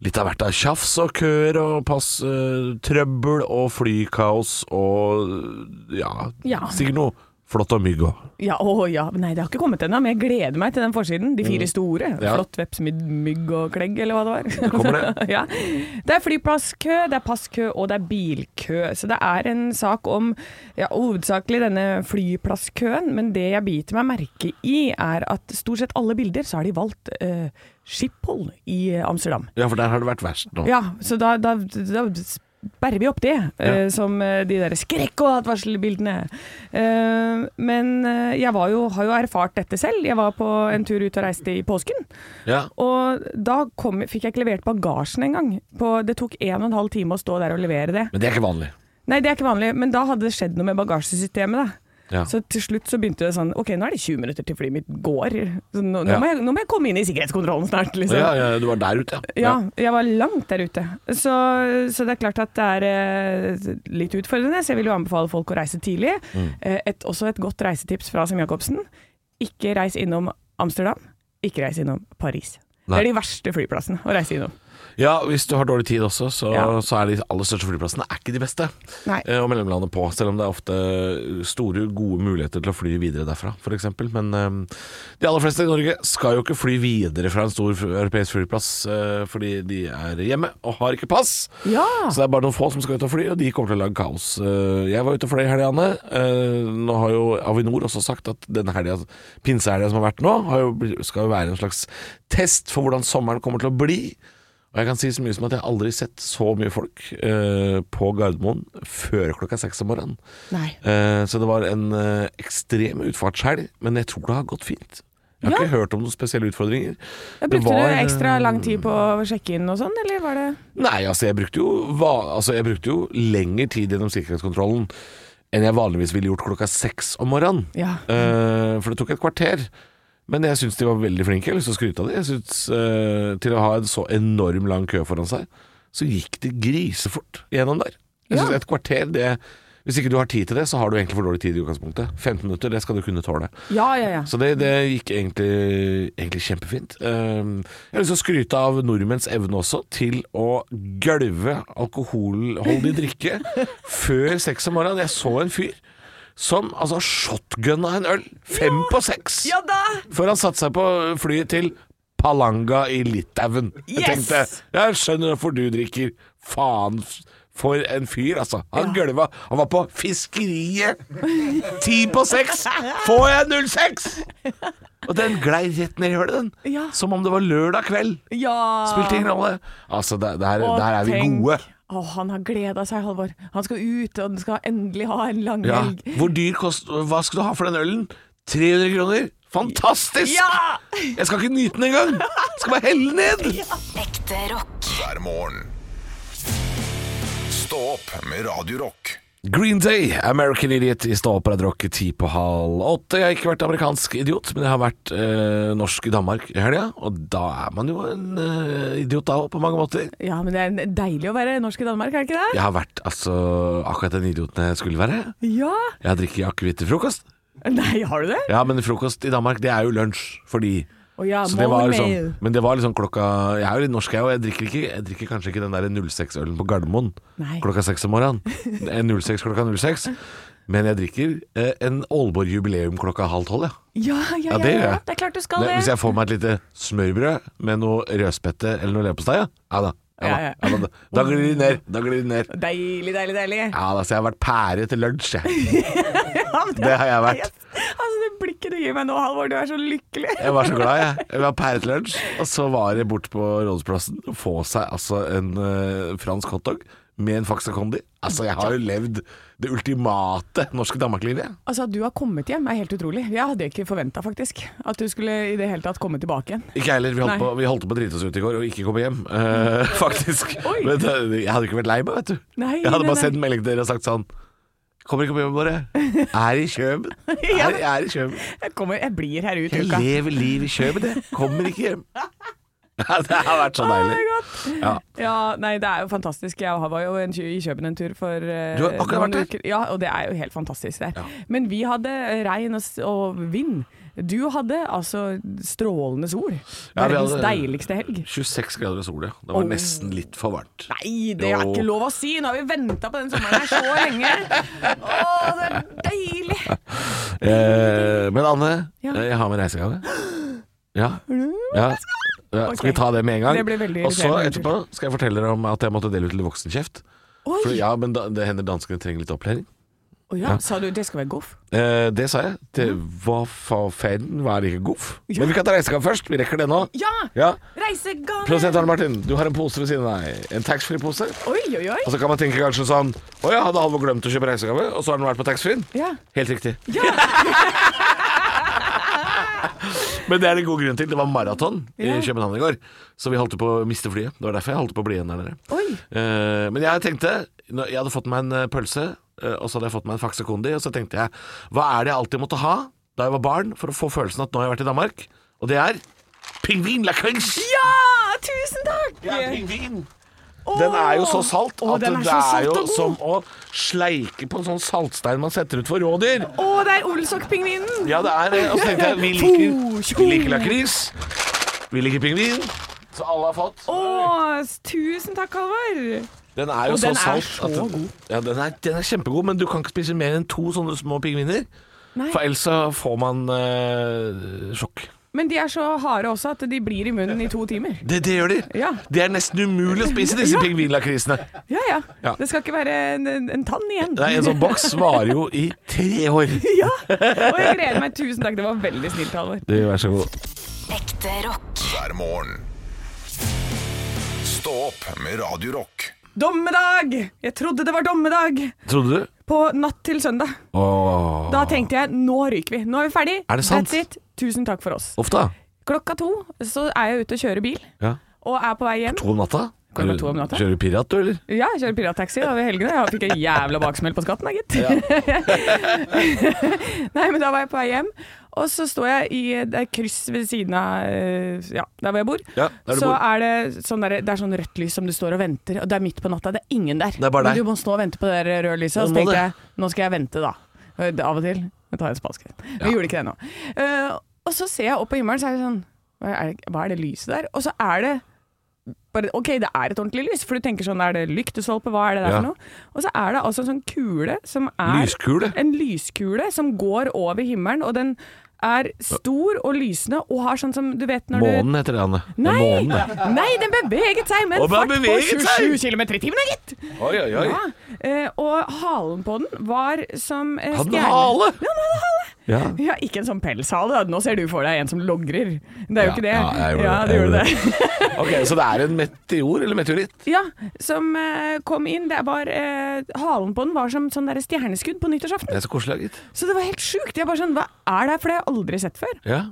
Speaker 3: litt av hvert av tjafs og køer og pass, eh, trøbbel og flykaos og eh, ja,
Speaker 4: Ja.
Speaker 3: sikkert noe flott og mygg òg.
Speaker 4: Ja, å ja. Nei, det har ikke kommet ennå, men jeg gleder meg til den forsiden. De fire store.
Speaker 3: Mm. Ja.
Speaker 4: Flott veps, mygg- mygg og klegg, eller hva det var. Det
Speaker 3: kommer det.
Speaker 4: ja. Det er flyplasskø, det er passkø og det er bilkø. Så det er en sak om ja, hovedsakelig denne flyplasskøen, men det jeg biter meg merke i, er at stort sett alle bilder så har de valgt eh, Schiphol i eh, Amsterdam.
Speaker 3: Ja, for der har det vært verst nå.
Speaker 4: Ja, så da, da, da sperrer vi opp det, eh, som eh, de der skrekk- og advarselbildene. Eh, men eh, jeg var jo, har jo erfart dette selv. Jeg var på en tur ut og reiste i påsken.
Speaker 3: Ja.
Speaker 4: Og da kom, fikk jeg ikke levert bagasjen engang. På- Det tok en og en halv time å stå der og levere det.
Speaker 3: Men det er ikke vanlig.
Speaker 4: Nei, det er ikke vanlig, men da hadde det skjedd noe med bagasjesystemet, da.
Speaker 3: Ja.
Speaker 4: Så til slutt så begynte det sånn Ok, nå er det 20 minutter til flyet mitt går. Så nå, nå,
Speaker 3: Ja.
Speaker 4: må jeg, nå må jeg komme inn i sikkerhetskontrollen snart, liksom.
Speaker 3: ja, ja, du var der ute,
Speaker 4: Ja, jeg var langt der ute. Så, så det er klart at det er eh, litt utfordrende. Så jeg vil jo anbefale folk å reise tidlig.
Speaker 3: Mm.
Speaker 4: Eh, Et, også et godt reisetips fra Sem Jacobsen. Ikke reis innom Amsterdam. Ikke reis innom Paris.
Speaker 3: Nei.
Speaker 4: Det er de verste flyplassene å reise innom.
Speaker 3: Ja, hvis du har dårlig tid også, så,
Speaker 4: Ja.
Speaker 3: så er de aller største flyplassene er ikke de beste
Speaker 4: Nei.
Speaker 3: eh, å mellomlande på. Selv om det er ofte store, gode muligheter til å fly videre derfra, f.eks. Men eh, de aller fleste i Norge skal jo ikke fly videre fra en stor f- europeisk flyplass eh, fordi de er hjemme og har ikke pass.
Speaker 4: Ja!
Speaker 3: Så det er bare noen få som skal ut og fly, og de kommer til å lage kaos. Eh, Jeg var ute og fløy i helga, Anne. Eh, Nå har jo Avinor også sagt at den helga, pinsehelga som har vært nå, har jo, bl- skal jo være en slags test for hvordan sommeren kommer til å bli. Og jeg kan si så mye som at jeg har aldri sett så mye folk eh, på Gardermoen før klokka seks om morgenen.
Speaker 4: Nei.
Speaker 3: Eh, så det var en eh, ekstrem utfartshelg, men jeg tror det har gått fint. Jeg har
Speaker 4: Ja.
Speaker 3: ikke hørt om noen spesielle utfordringer.
Speaker 4: Men
Speaker 3: Det
Speaker 4: Brukte
Speaker 3: var,
Speaker 4: du ekstra
Speaker 3: eh,
Speaker 4: lang tid på å sjekke inn og sånn, eller var det
Speaker 3: Nei, altså jeg brukte jo, va- altså, jeg brukte jo lengre tid gjennom sikkerhetskontrollen enn jeg vanligvis ville gjort klokka seks om morgenen.
Speaker 4: Ja.
Speaker 3: Eh, for det tok et kvarter. Men jeg syns de var veldig flinke. Jeg har lyst til å skryte av det. Jeg synes, eh, Til å ha en så enorm lang kø foran seg, så gikk det grisefort gjennom der. Jeg synes
Speaker 4: Ja.
Speaker 3: Et kvarter, det Hvis ikke du har tid til det, så har du egentlig for dårlig tid i utgangspunktet. 15 minutter, det skal du kunne tåle.
Speaker 4: Ja, ja, ja.
Speaker 3: Så det, det gikk egentlig, egentlig kjempefint. Ehm, Jeg har lyst til å skryte av nordmenns evne også til å gølve alkoholholdig drikke før seks om morgenen. Jeg så en fyr som altså shotgunna en øl fem på seks
Speaker 4: Ja da!
Speaker 3: før han satte seg på flyet til Palanga i Litauen. Jeg
Speaker 4: Yes!
Speaker 3: tenkte jeg skjønner hvorfor du drikker. Faen f- for en fyr, altså. Han gølva. Han var på fiskeriet! Ti på seks! Får jeg 06?! Og den glei rett ned i hølet, den.
Speaker 4: Ja.
Speaker 3: Som om det var lørdag kveld.
Speaker 4: Ja!
Speaker 3: Spilte ingen rolle. Altså, der, der,
Speaker 4: Og
Speaker 3: der er vi
Speaker 4: tenk-
Speaker 3: gode.
Speaker 4: Å, han har gleda seg, Halvor. Han skal ut, og han skal endelig ha en lang
Speaker 3: Ja.
Speaker 4: helg.
Speaker 3: Hvor dyr kost... Hva skal du ha for den ølen? 300 kroner? Fantastisk!
Speaker 4: Ja!
Speaker 3: Jeg skal ikke nyte den engang! Jeg Skal bare helle den ned!
Speaker 6: Ekte rock.
Speaker 2: hver morgen. Stå opp med Radio Rock.
Speaker 3: Green Day, American Idiot i Ståoperadrakt ti på halv åtte. Jeg har ikke vært amerikansk idiot, men jeg har vært eh, norsk i Danmark i helga. Og da er man jo en eh, idiot da òg, på mange måter.
Speaker 4: Ja, men det er en- deilig å være norsk i Danmark, er det ikke det?
Speaker 3: Jeg har vært altså akkurat den idioten jeg skulle være.
Speaker 4: Ja!
Speaker 3: Jeg har drukket akevitt til frokost.
Speaker 4: Nei, har du det?
Speaker 3: Ja, men frokost i Danmark, det er jo lunsj for de.
Speaker 4: Å ja,
Speaker 3: Så det var liksom,
Speaker 4: morgenmail.
Speaker 3: men det var liksom klokka Jeg er jo litt norsk, jeg òg. Jeg, drikker ikke- jeg drikker kanskje ikke den der 06-ølen på Gardermoen
Speaker 4: Nei.
Speaker 3: klokka seks om morgenen. Eh, 06 klokka 06. Men jeg drikker eh, en Aalborg jubileum klokka halv tolv, ja.
Speaker 4: Ja, ja, ja,
Speaker 3: Ja, det gjør
Speaker 4: ja.
Speaker 3: jeg.
Speaker 4: Det er klart du skal
Speaker 3: Det- Hvis
Speaker 4: det.
Speaker 3: jeg får meg et lite smørbrød med noe rødspette eller noe leverpostei, ja. Ja da. Ja, da,
Speaker 4: Ja, ja.
Speaker 3: ja, da, da glir de ned. Da glir de ned.
Speaker 4: Deilig, deilig, deilig.
Speaker 3: Ja da, så jeg har vært pære til lunsj, jeg.
Speaker 4: Ja, men
Speaker 3: Det har jeg vært.
Speaker 4: Altså, det blikket du gir meg nå, Halvor, du er så lykkelig.
Speaker 3: Jeg var så glad, jeg. Jeg var pære til lunsj. Og så var jeg bort på Rådhusplassen og få seg altså en eh, fransk hotdog med en Faxa Condi. Altså, jeg har jo levd det ultimate norske Danmark-livet. jeg.
Speaker 4: Altså, at du har kommet hjem er helt utrolig. Jeg hadde ikke forventa, faktisk, at du skulle i det hele tatt komme tilbake igjen.
Speaker 3: Ikke jeg heller. Vi holdt,
Speaker 4: Nei.
Speaker 3: på, vi holdt på å drite oss ut i går og ikke komme hjem, eh, faktisk.
Speaker 4: Oi.
Speaker 3: Men eh, jeg hadde ikke vært lei meg, vet du.
Speaker 4: Nei,
Speaker 3: jeg hadde
Speaker 4: nei,
Speaker 3: bare
Speaker 4: nei.
Speaker 3: sendt melding til dere og sagt sånn Kommer ikke på jobben våre. Er i Kjøben. Er, er i Kjøben.
Speaker 4: Jeg, kommer, jeg blir her ut
Speaker 3: Jeg
Speaker 4: uka.
Speaker 3: lever liv i Kjøben, jeg. Kommer ikke hjem. Ja, det har vært så
Speaker 4: Å, det
Speaker 3: deilig.
Speaker 4: er godt.
Speaker 3: Ja.
Speaker 4: Oh Ja, nei, det er jo fantastisk. Jeg var jo en, tur- i Køben en tur for eh,
Speaker 3: Du har akkurat
Speaker 4: noen
Speaker 3: vært der?
Speaker 4: uker. Ja, og det er jo helt fantastisk der. Men vi hadde regn og, s- og vind. Du hadde altså strålende sol.
Speaker 3: Ja, vi
Speaker 4: Verdens
Speaker 3: hadde-
Speaker 4: deiligste helg.
Speaker 3: 26 grader og sol, ja. Det var
Speaker 4: Åh.
Speaker 3: nesten litt for varmt.
Speaker 4: Nei, det er
Speaker 3: Jo.
Speaker 4: ikke lov å si! Nå har vi venta på den sommeren her så lenge. Å, det er deilig!
Speaker 3: Eh, men Anne,
Speaker 4: Ja.
Speaker 3: eh, jeg har med reisegave. Ja. ja. Ja,
Speaker 4: Ok.
Speaker 3: Skal vi ta det med en gang?
Speaker 4: Det blir veldig
Speaker 3: og så
Speaker 4: irriterende,
Speaker 3: etterpå skal jeg fortelle dere om at jeg måtte dele ut litt voksenkjeft.
Speaker 4: Oi!
Speaker 3: For, ja, men da, det hender danskene trenger litt opplæring.
Speaker 4: Å ja, Sa du det skal være goff?
Speaker 3: Eh, det sa jeg. Det, hva for faen var det ikke goff? Men vi kan ta reisegave først. Vi rekker det nå.
Speaker 4: Ja!
Speaker 3: Ja.
Speaker 4: Reisegave!
Speaker 3: Produsent Arne Martin, du har en pose ved siden av deg. En taxfree-pose.
Speaker 4: Oi, oi, oi.
Speaker 3: Og så kan man tenke kanskje sånn Å ja, hadde Halvor glemt å kjøpe reisegave, og så har den vært på taxfree-en?
Speaker 4: Ja.
Speaker 3: Helt riktig. Men det er det god grunn til. Det var maraton i
Speaker 4: Ja.
Speaker 3: København i går, så vi holdt på å miste flyet. Det var derfor jeg holdt på å bli igjen der nede.
Speaker 4: Oi.
Speaker 3: Eh, men jeg tenkte når Jeg hadde fått meg en eh, pølse, eh, og så hadde jeg fått meg en Faxe Kondi, og så tenkte jeg Hva er det jeg alltid måtte ha da jeg var barn, for å få følelsen at nå har jeg vært i Danmark? Og det er pingvin la canche!
Speaker 4: Ja, tusen takk!
Speaker 3: Det er pingvin! Den er jo så salt
Speaker 4: Åh,
Speaker 3: at
Speaker 4: den er
Speaker 3: det
Speaker 4: så salt
Speaker 3: er jo
Speaker 4: og god.
Speaker 3: som å sleike på en sånn saltstein man setter ut for rådyr.
Speaker 4: Å, det er Olsok-pingvinen!
Speaker 3: Ja, det er det. Og så tenkte jeg vi liker, vi liker lakris, vi liker pingvin. Så alle har fått.
Speaker 4: Å, tusen takk, Halvor!
Speaker 3: Den er jo
Speaker 4: Og
Speaker 3: så
Speaker 4: den er
Speaker 3: salt.
Speaker 4: så
Speaker 3: at den-
Speaker 4: god.
Speaker 3: Ja, den er, den er kjempegod, men du kan ikke spise mer enn to sånne små pingviner.
Speaker 4: Nei.
Speaker 3: For ellers så får man eh, sjokk.
Speaker 4: Men de er så harde også at de blir i munnen i to timer.
Speaker 3: Det, det gjør de.
Speaker 4: Ja.
Speaker 3: Det er nesten umulig å spise disse
Speaker 4: Ja.
Speaker 3: pingvinlakrisene.
Speaker 4: Ja, ja.
Speaker 3: Ja.
Speaker 4: Det skal ikke være en, en, en tann igjen.
Speaker 3: Nei, En sånn boks varer jo i tre år.
Speaker 4: Ja! Og jeg gleder meg. Tusen takk. Det var veldig snilt, Halvor.
Speaker 3: Du, vær så god.
Speaker 6: Ekte rock.
Speaker 2: hver morgen. Stå opp med Radio Rock.
Speaker 4: Dommedag! Jeg trodde det var dommedag
Speaker 3: Trodde du?
Speaker 4: på natt til søndag.
Speaker 3: Åh.
Speaker 4: Da tenkte jeg nå ryker vi. Nå er vi ferdig.
Speaker 3: Ah. Er det sant?
Speaker 4: That's it. Tusen takk for oss.
Speaker 3: Ofte, da.
Speaker 4: Klokka to så er jeg ute og kjører bil,
Speaker 3: Ja.
Speaker 4: og er på vei hjem.
Speaker 3: To om natta?
Speaker 4: Klokka to om natta.
Speaker 3: Kjører du pirat, du, eller?
Speaker 4: Ja, jeg kjører pirattaxi over helgene. Jeg fikk en jævla baksmell på skatten, da, gitt. Nei, men da var jeg på vei hjem, og så står jeg i det er kryss ved siden av eh, ja, der hvor jeg bor.
Speaker 3: Ja, der du
Speaker 4: så
Speaker 3: bor.
Speaker 4: er det sånn der, det er sånn rødt lys som du står og venter, og det er midt på natta, det er ingen der.
Speaker 3: Det er bare
Speaker 4: men
Speaker 3: deg.
Speaker 4: du må stå og vente på det der røde
Speaker 3: Ja,
Speaker 4: lyset, og
Speaker 3: du
Speaker 4: så
Speaker 3: må
Speaker 4: tenkte
Speaker 3: det.
Speaker 4: jeg nå skal jeg vente, da. Eh, Av og til. Jeg tar en spansk. Vi gjorde ikke det nå. Eh, og så ser jeg opp på himmelen, så er det sånn hva er, hva er det lyset der? Og så er det bare, ok, det er et ordentlig lys, for du tenker sånn, er det lyktestolpe, hva er det der
Speaker 3: Ja.
Speaker 4: for noe? Og så er det altså en sånn kule som er
Speaker 3: Lyskule?
Speaker 4: En lyskule som går over himmelen, og den er stor og lysende, og har sånn som, du vet når du...
Speaker 3: Månen heter det, Anne. Det er
Speaker 4: Nei,
Speaker 3: Månen, det.
Speaker 4: nei, den beveget seg med
Speaker 3: Og
Speaker 4: en
Speaker 3: den
Speaker 4: fart på
Speaker 3: beveget seg!
Speaker 4: 27 km i timen, da, gitt!
Speaker 3: Oi, oi, oi.
Speaker 4: Ja, eh, og halen på den var som eh,
Speaker 3: Hadde den
Speaker 4: stjerne-
Speaker 3: hale?
Speaker 4: Ja, den hadde hale.
Speaker 3: Ja.
Speaker 4: Ja, ikke en sånn pelshale. da. Nå ser du for deg en som logrer. Det er
Speaker 3: Ja,
Speaker 4: jo ikke det.
Speaker 3: ja, jeg gjorde
Speaker 4: ja,
Speaker 3: det,
Speaker 4: du
Speaker 3: jeg
Speaker 4: gjorde
Speaker 3: gjorde
Speaker 4: det.
Speaker 3: Ok, Så det er en meteor eller meteoritt?
Speaker 4: Ja, som eh, kom inn. Det var, eh, halen på den var som sånn der stjerneskudd på nyttårsaften.
Speaker 3: Det er så koselig, gitt.
Speaker 4: Så det var helt sjukt. Jeg bare sånn, Hva er det her, for det har jeg aldri sett før.
Speaker 3: Ja.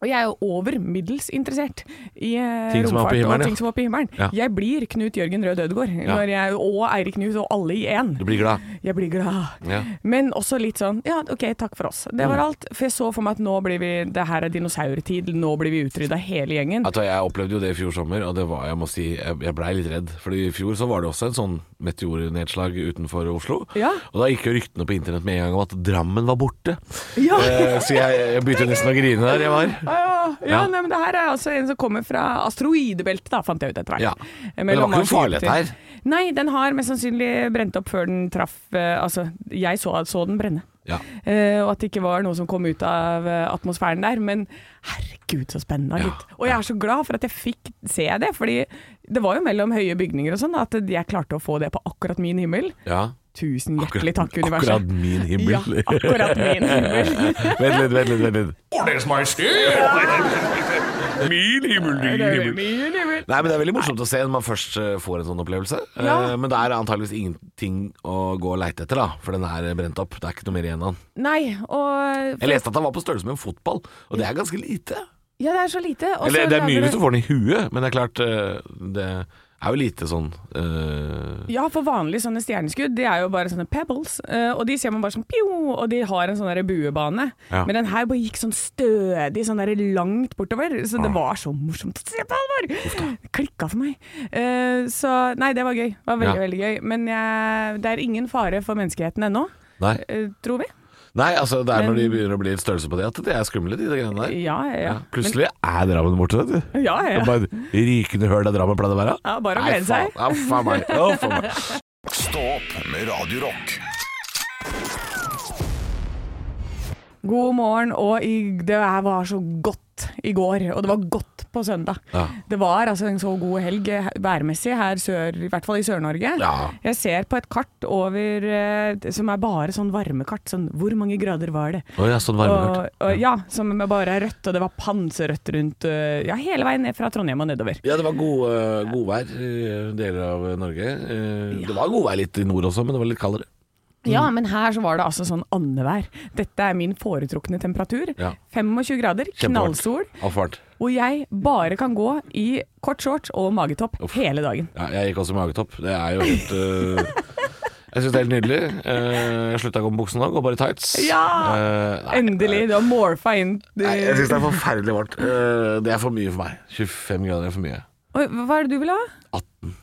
Speaker 4: Og jeg er jo over middels interessert i eh,
Speaker 3: Ting som er oppe i
Speaker 4: romfart
Speaker 3: himmelen,
Speaker 4: og
Speaker 3: ja.
Speaker 4: ting som er oppe i himmelen.
Speaker 3: Ja.
Speaker 4: Jeg blir Knut Jørgen Rød Ødegård når jeg, og Eirik Knut og alle i én.
Speaker 3: Du blir glad.
Speaker 4: Jeg blir glad.
Speaker 3: Ja. Mm.
Speaker 4: Men også litt sånn Ja, OK, takk for oss. Det var alt. For jeg så for meg at nå blir vi Det her er dinosaurtid. Nå blir vi utrydda hele gjengen.
Speaker 3: Vet du hva, Jeg opplevde jo det i fjor sommer, og det var, jeg må si, jeg, jeg blei litt redd. Fordi i fjor så var det også en sånn meteornedslag utenfor Oslo.
Speaker 4: Ja.
Speaker 3: Og da gikk jo ryktene på internett med en gang om at Drammen var borte.
Speaker 4: Ja.
Speaker 3: Eh, så jeg, jeg begynte nesten å grine der jeg var.
Speaker 4: Ja, ja, ja.
Speaker 3: Ja.
Speaker 4: Nei, men det her er altså en som kommer fra asteroidebeltet, da, fant jeg ut etter hvert.
Speaker 3: Ja.
Speaker 4: Eh,
Speaker 3: Men det var ikke
Speaker 4: mellom
Speaker 3: noe
Speaker 4: Mars og
Speaker 3: farlighet
Speaker 4: Jupiter.
Speaker 3: her.
Speaker 4: Nei, den har mest sannsynlig brent opp før den traff eh, Altså, jeg så, så den brenne.
Speaker 3: Ja.
Speaker 4: Eh, og at det ikke var noe som kom ut av eh, atmosfæren der. Men herregud, så spennende.
Speaker 3: Ja,
Speaker 4: gitt. Og jeg er så glad for at jeg fikk se det, fordi det var jo mellom høye bygninger og sånn at jeg klarte å få det på akkurat min himmel.
Speaker 3: Ja.
Speaker 4: Tusen hjertelig takk, universet.
Speaker 3: Akkurat min himmel.
Speaker 4: Ja, akkurat min himmel.
Speaker 3: vent litt, vent litt. vent litt Ordnes Min himmel, din
Speaker 4: Det er min himmel.
Speaker 3: Nei, men Det er veldig morsomt å se når man først eh, får en sånn opplevelse. Eh,
Speaker 4: Ja.
Speaker 3: Men det er antageligvis ingenting å gå og leite etter, da. For den er brent opp. Det er ikke noe mer igjen av den.
Speaker 4: Nei, og
Speaker 3: Jeg leste at den var på størrelse med en fotball, og det er ganske lite.
Speaker 4: Ja, det er så lite. og så
Speaker 3: Eller det er mye
Speaker 4: lager
Speaker 3: hvis
Speaker 4: det-
Speaker 3: du får den i huet, men det er klart eh, Det er jo lite sånn eh,
Speaker 4: Ja, for vanlige sånne stjerneskudd, de er jo bare sånne pebbles, eh, og de ser man bare sånn pjo, og de har en sånn der buebane.
Speaker 3: Ja.
Speaker 4: Men den her bare gikk sånn stødig, sånn der langt bortover, så
Speaker 3: Ah.
Speaker 4: det var så morsomt å se på Halvor! Det Klikka for meg. Eh, så nei, det var gøy. Det var veldig,
Speaker 3: Ja.
Speaker 4: veldig gøy. Men jeg, det er ingen fare for menneskeheten ennå,
Speaker 3: Nei.
Speaker 4: eh, tror vi.
Speaker 3: Nei, altså det er når de
Speaker 4: Men-
Speaker 3: begynner å bli en størrelse på det at de er skumle, de, de greiene der.
Speaker 4: Ja, ja, ja.
Speaker 3: Plutselig er Drammen borte, vet du.
Speaker 4: Men, ja, ja.
Speaker 3: Det er bare et rykende høl der Drammen pleide å være.
Speaker 4: Ja, bare å
Speaker 3: Nei,
Speaker 4: glede seg.
Speaker 3: faen. Ja, faen meg. Ja, faen meg.
Speaker 2: Stå opp med Radio Rock.
Speaker 4: God morgen, og i, det er- var så godt i går, og det var godt på søndag.
Speaker 3: Ja.
Speaker 4: Det var altså en så god helg eh, værmessig her sør, i hvert fall i Sør-Norge.
Speaker 3: Ja.
Speaker 4: Jeg ser på et kart over, eh, som er bare sånn varmekart, sånn hvor mange grader var det?
Speaker 3: Å ja, sånn varmekart.
Speaker 4: Og, og, ja, som bare er rødt, og det var panserødt rundt, eh, ja, hele veien ned fra Trondheim og nedover.
Speaker 3: Ja, det var god, eh, godvær i deler av Norge. Eh, Det var godvær litt i nord også, men det var litt kaldere. Mm.
Speaker 4: Ja, men her så var det altså sånn andevær. Dette er min foretrukne temperatur.
Speaker 3: Ja.
Speaker 4: 25 grader,
Speaker 3: Kjempevarmt.
Speaker 4: knallsol.
Speaker 3: Altfor varmt.
Speaker 4: hvor jeg bare kan gå i kort shorts og magetopp hele dagen.
Speaker 3: Ja, jeg gikk også i magetopp. Det er jo helt eh, Jeg syns det er helt nydelig. Eh, Jeg slutta å gå med bukse nå, går bare i tights.
Speaker 4: Ja!
Speaker 3: Eh, nei,
Speaker 4: Endelig, du har morfa inn
Speaker 3: Nei, jeg syns det er forferdelig varmt. Eh, Det er for mye for meg. 25 grader er for mye.
Speaker 4: Oi, Hva er det du vil ha?
Speaker 3: 18.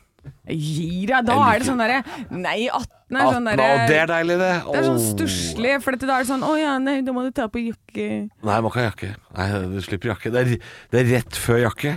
Speaker 4: Gi deg, da
Speaker 3: Jeg
Speaker 4: er det sånn derre Nei, 18 er
Speaker 3: 18
Speaker 4: sånn
Speaker 3: og
Speaker 4: derre
Speaker 3: det er deilig, det.
Speaker 4: Det er sånn
Speaker 3: Åh.
Speaker 4: stusslig, for dette, da er det sånn Å ja, nei, da må du ta på jakke.
Speaker 3: Nei, man kan ha jakke. Nei, Du slipper jakke. Det er, det er rett før jakke.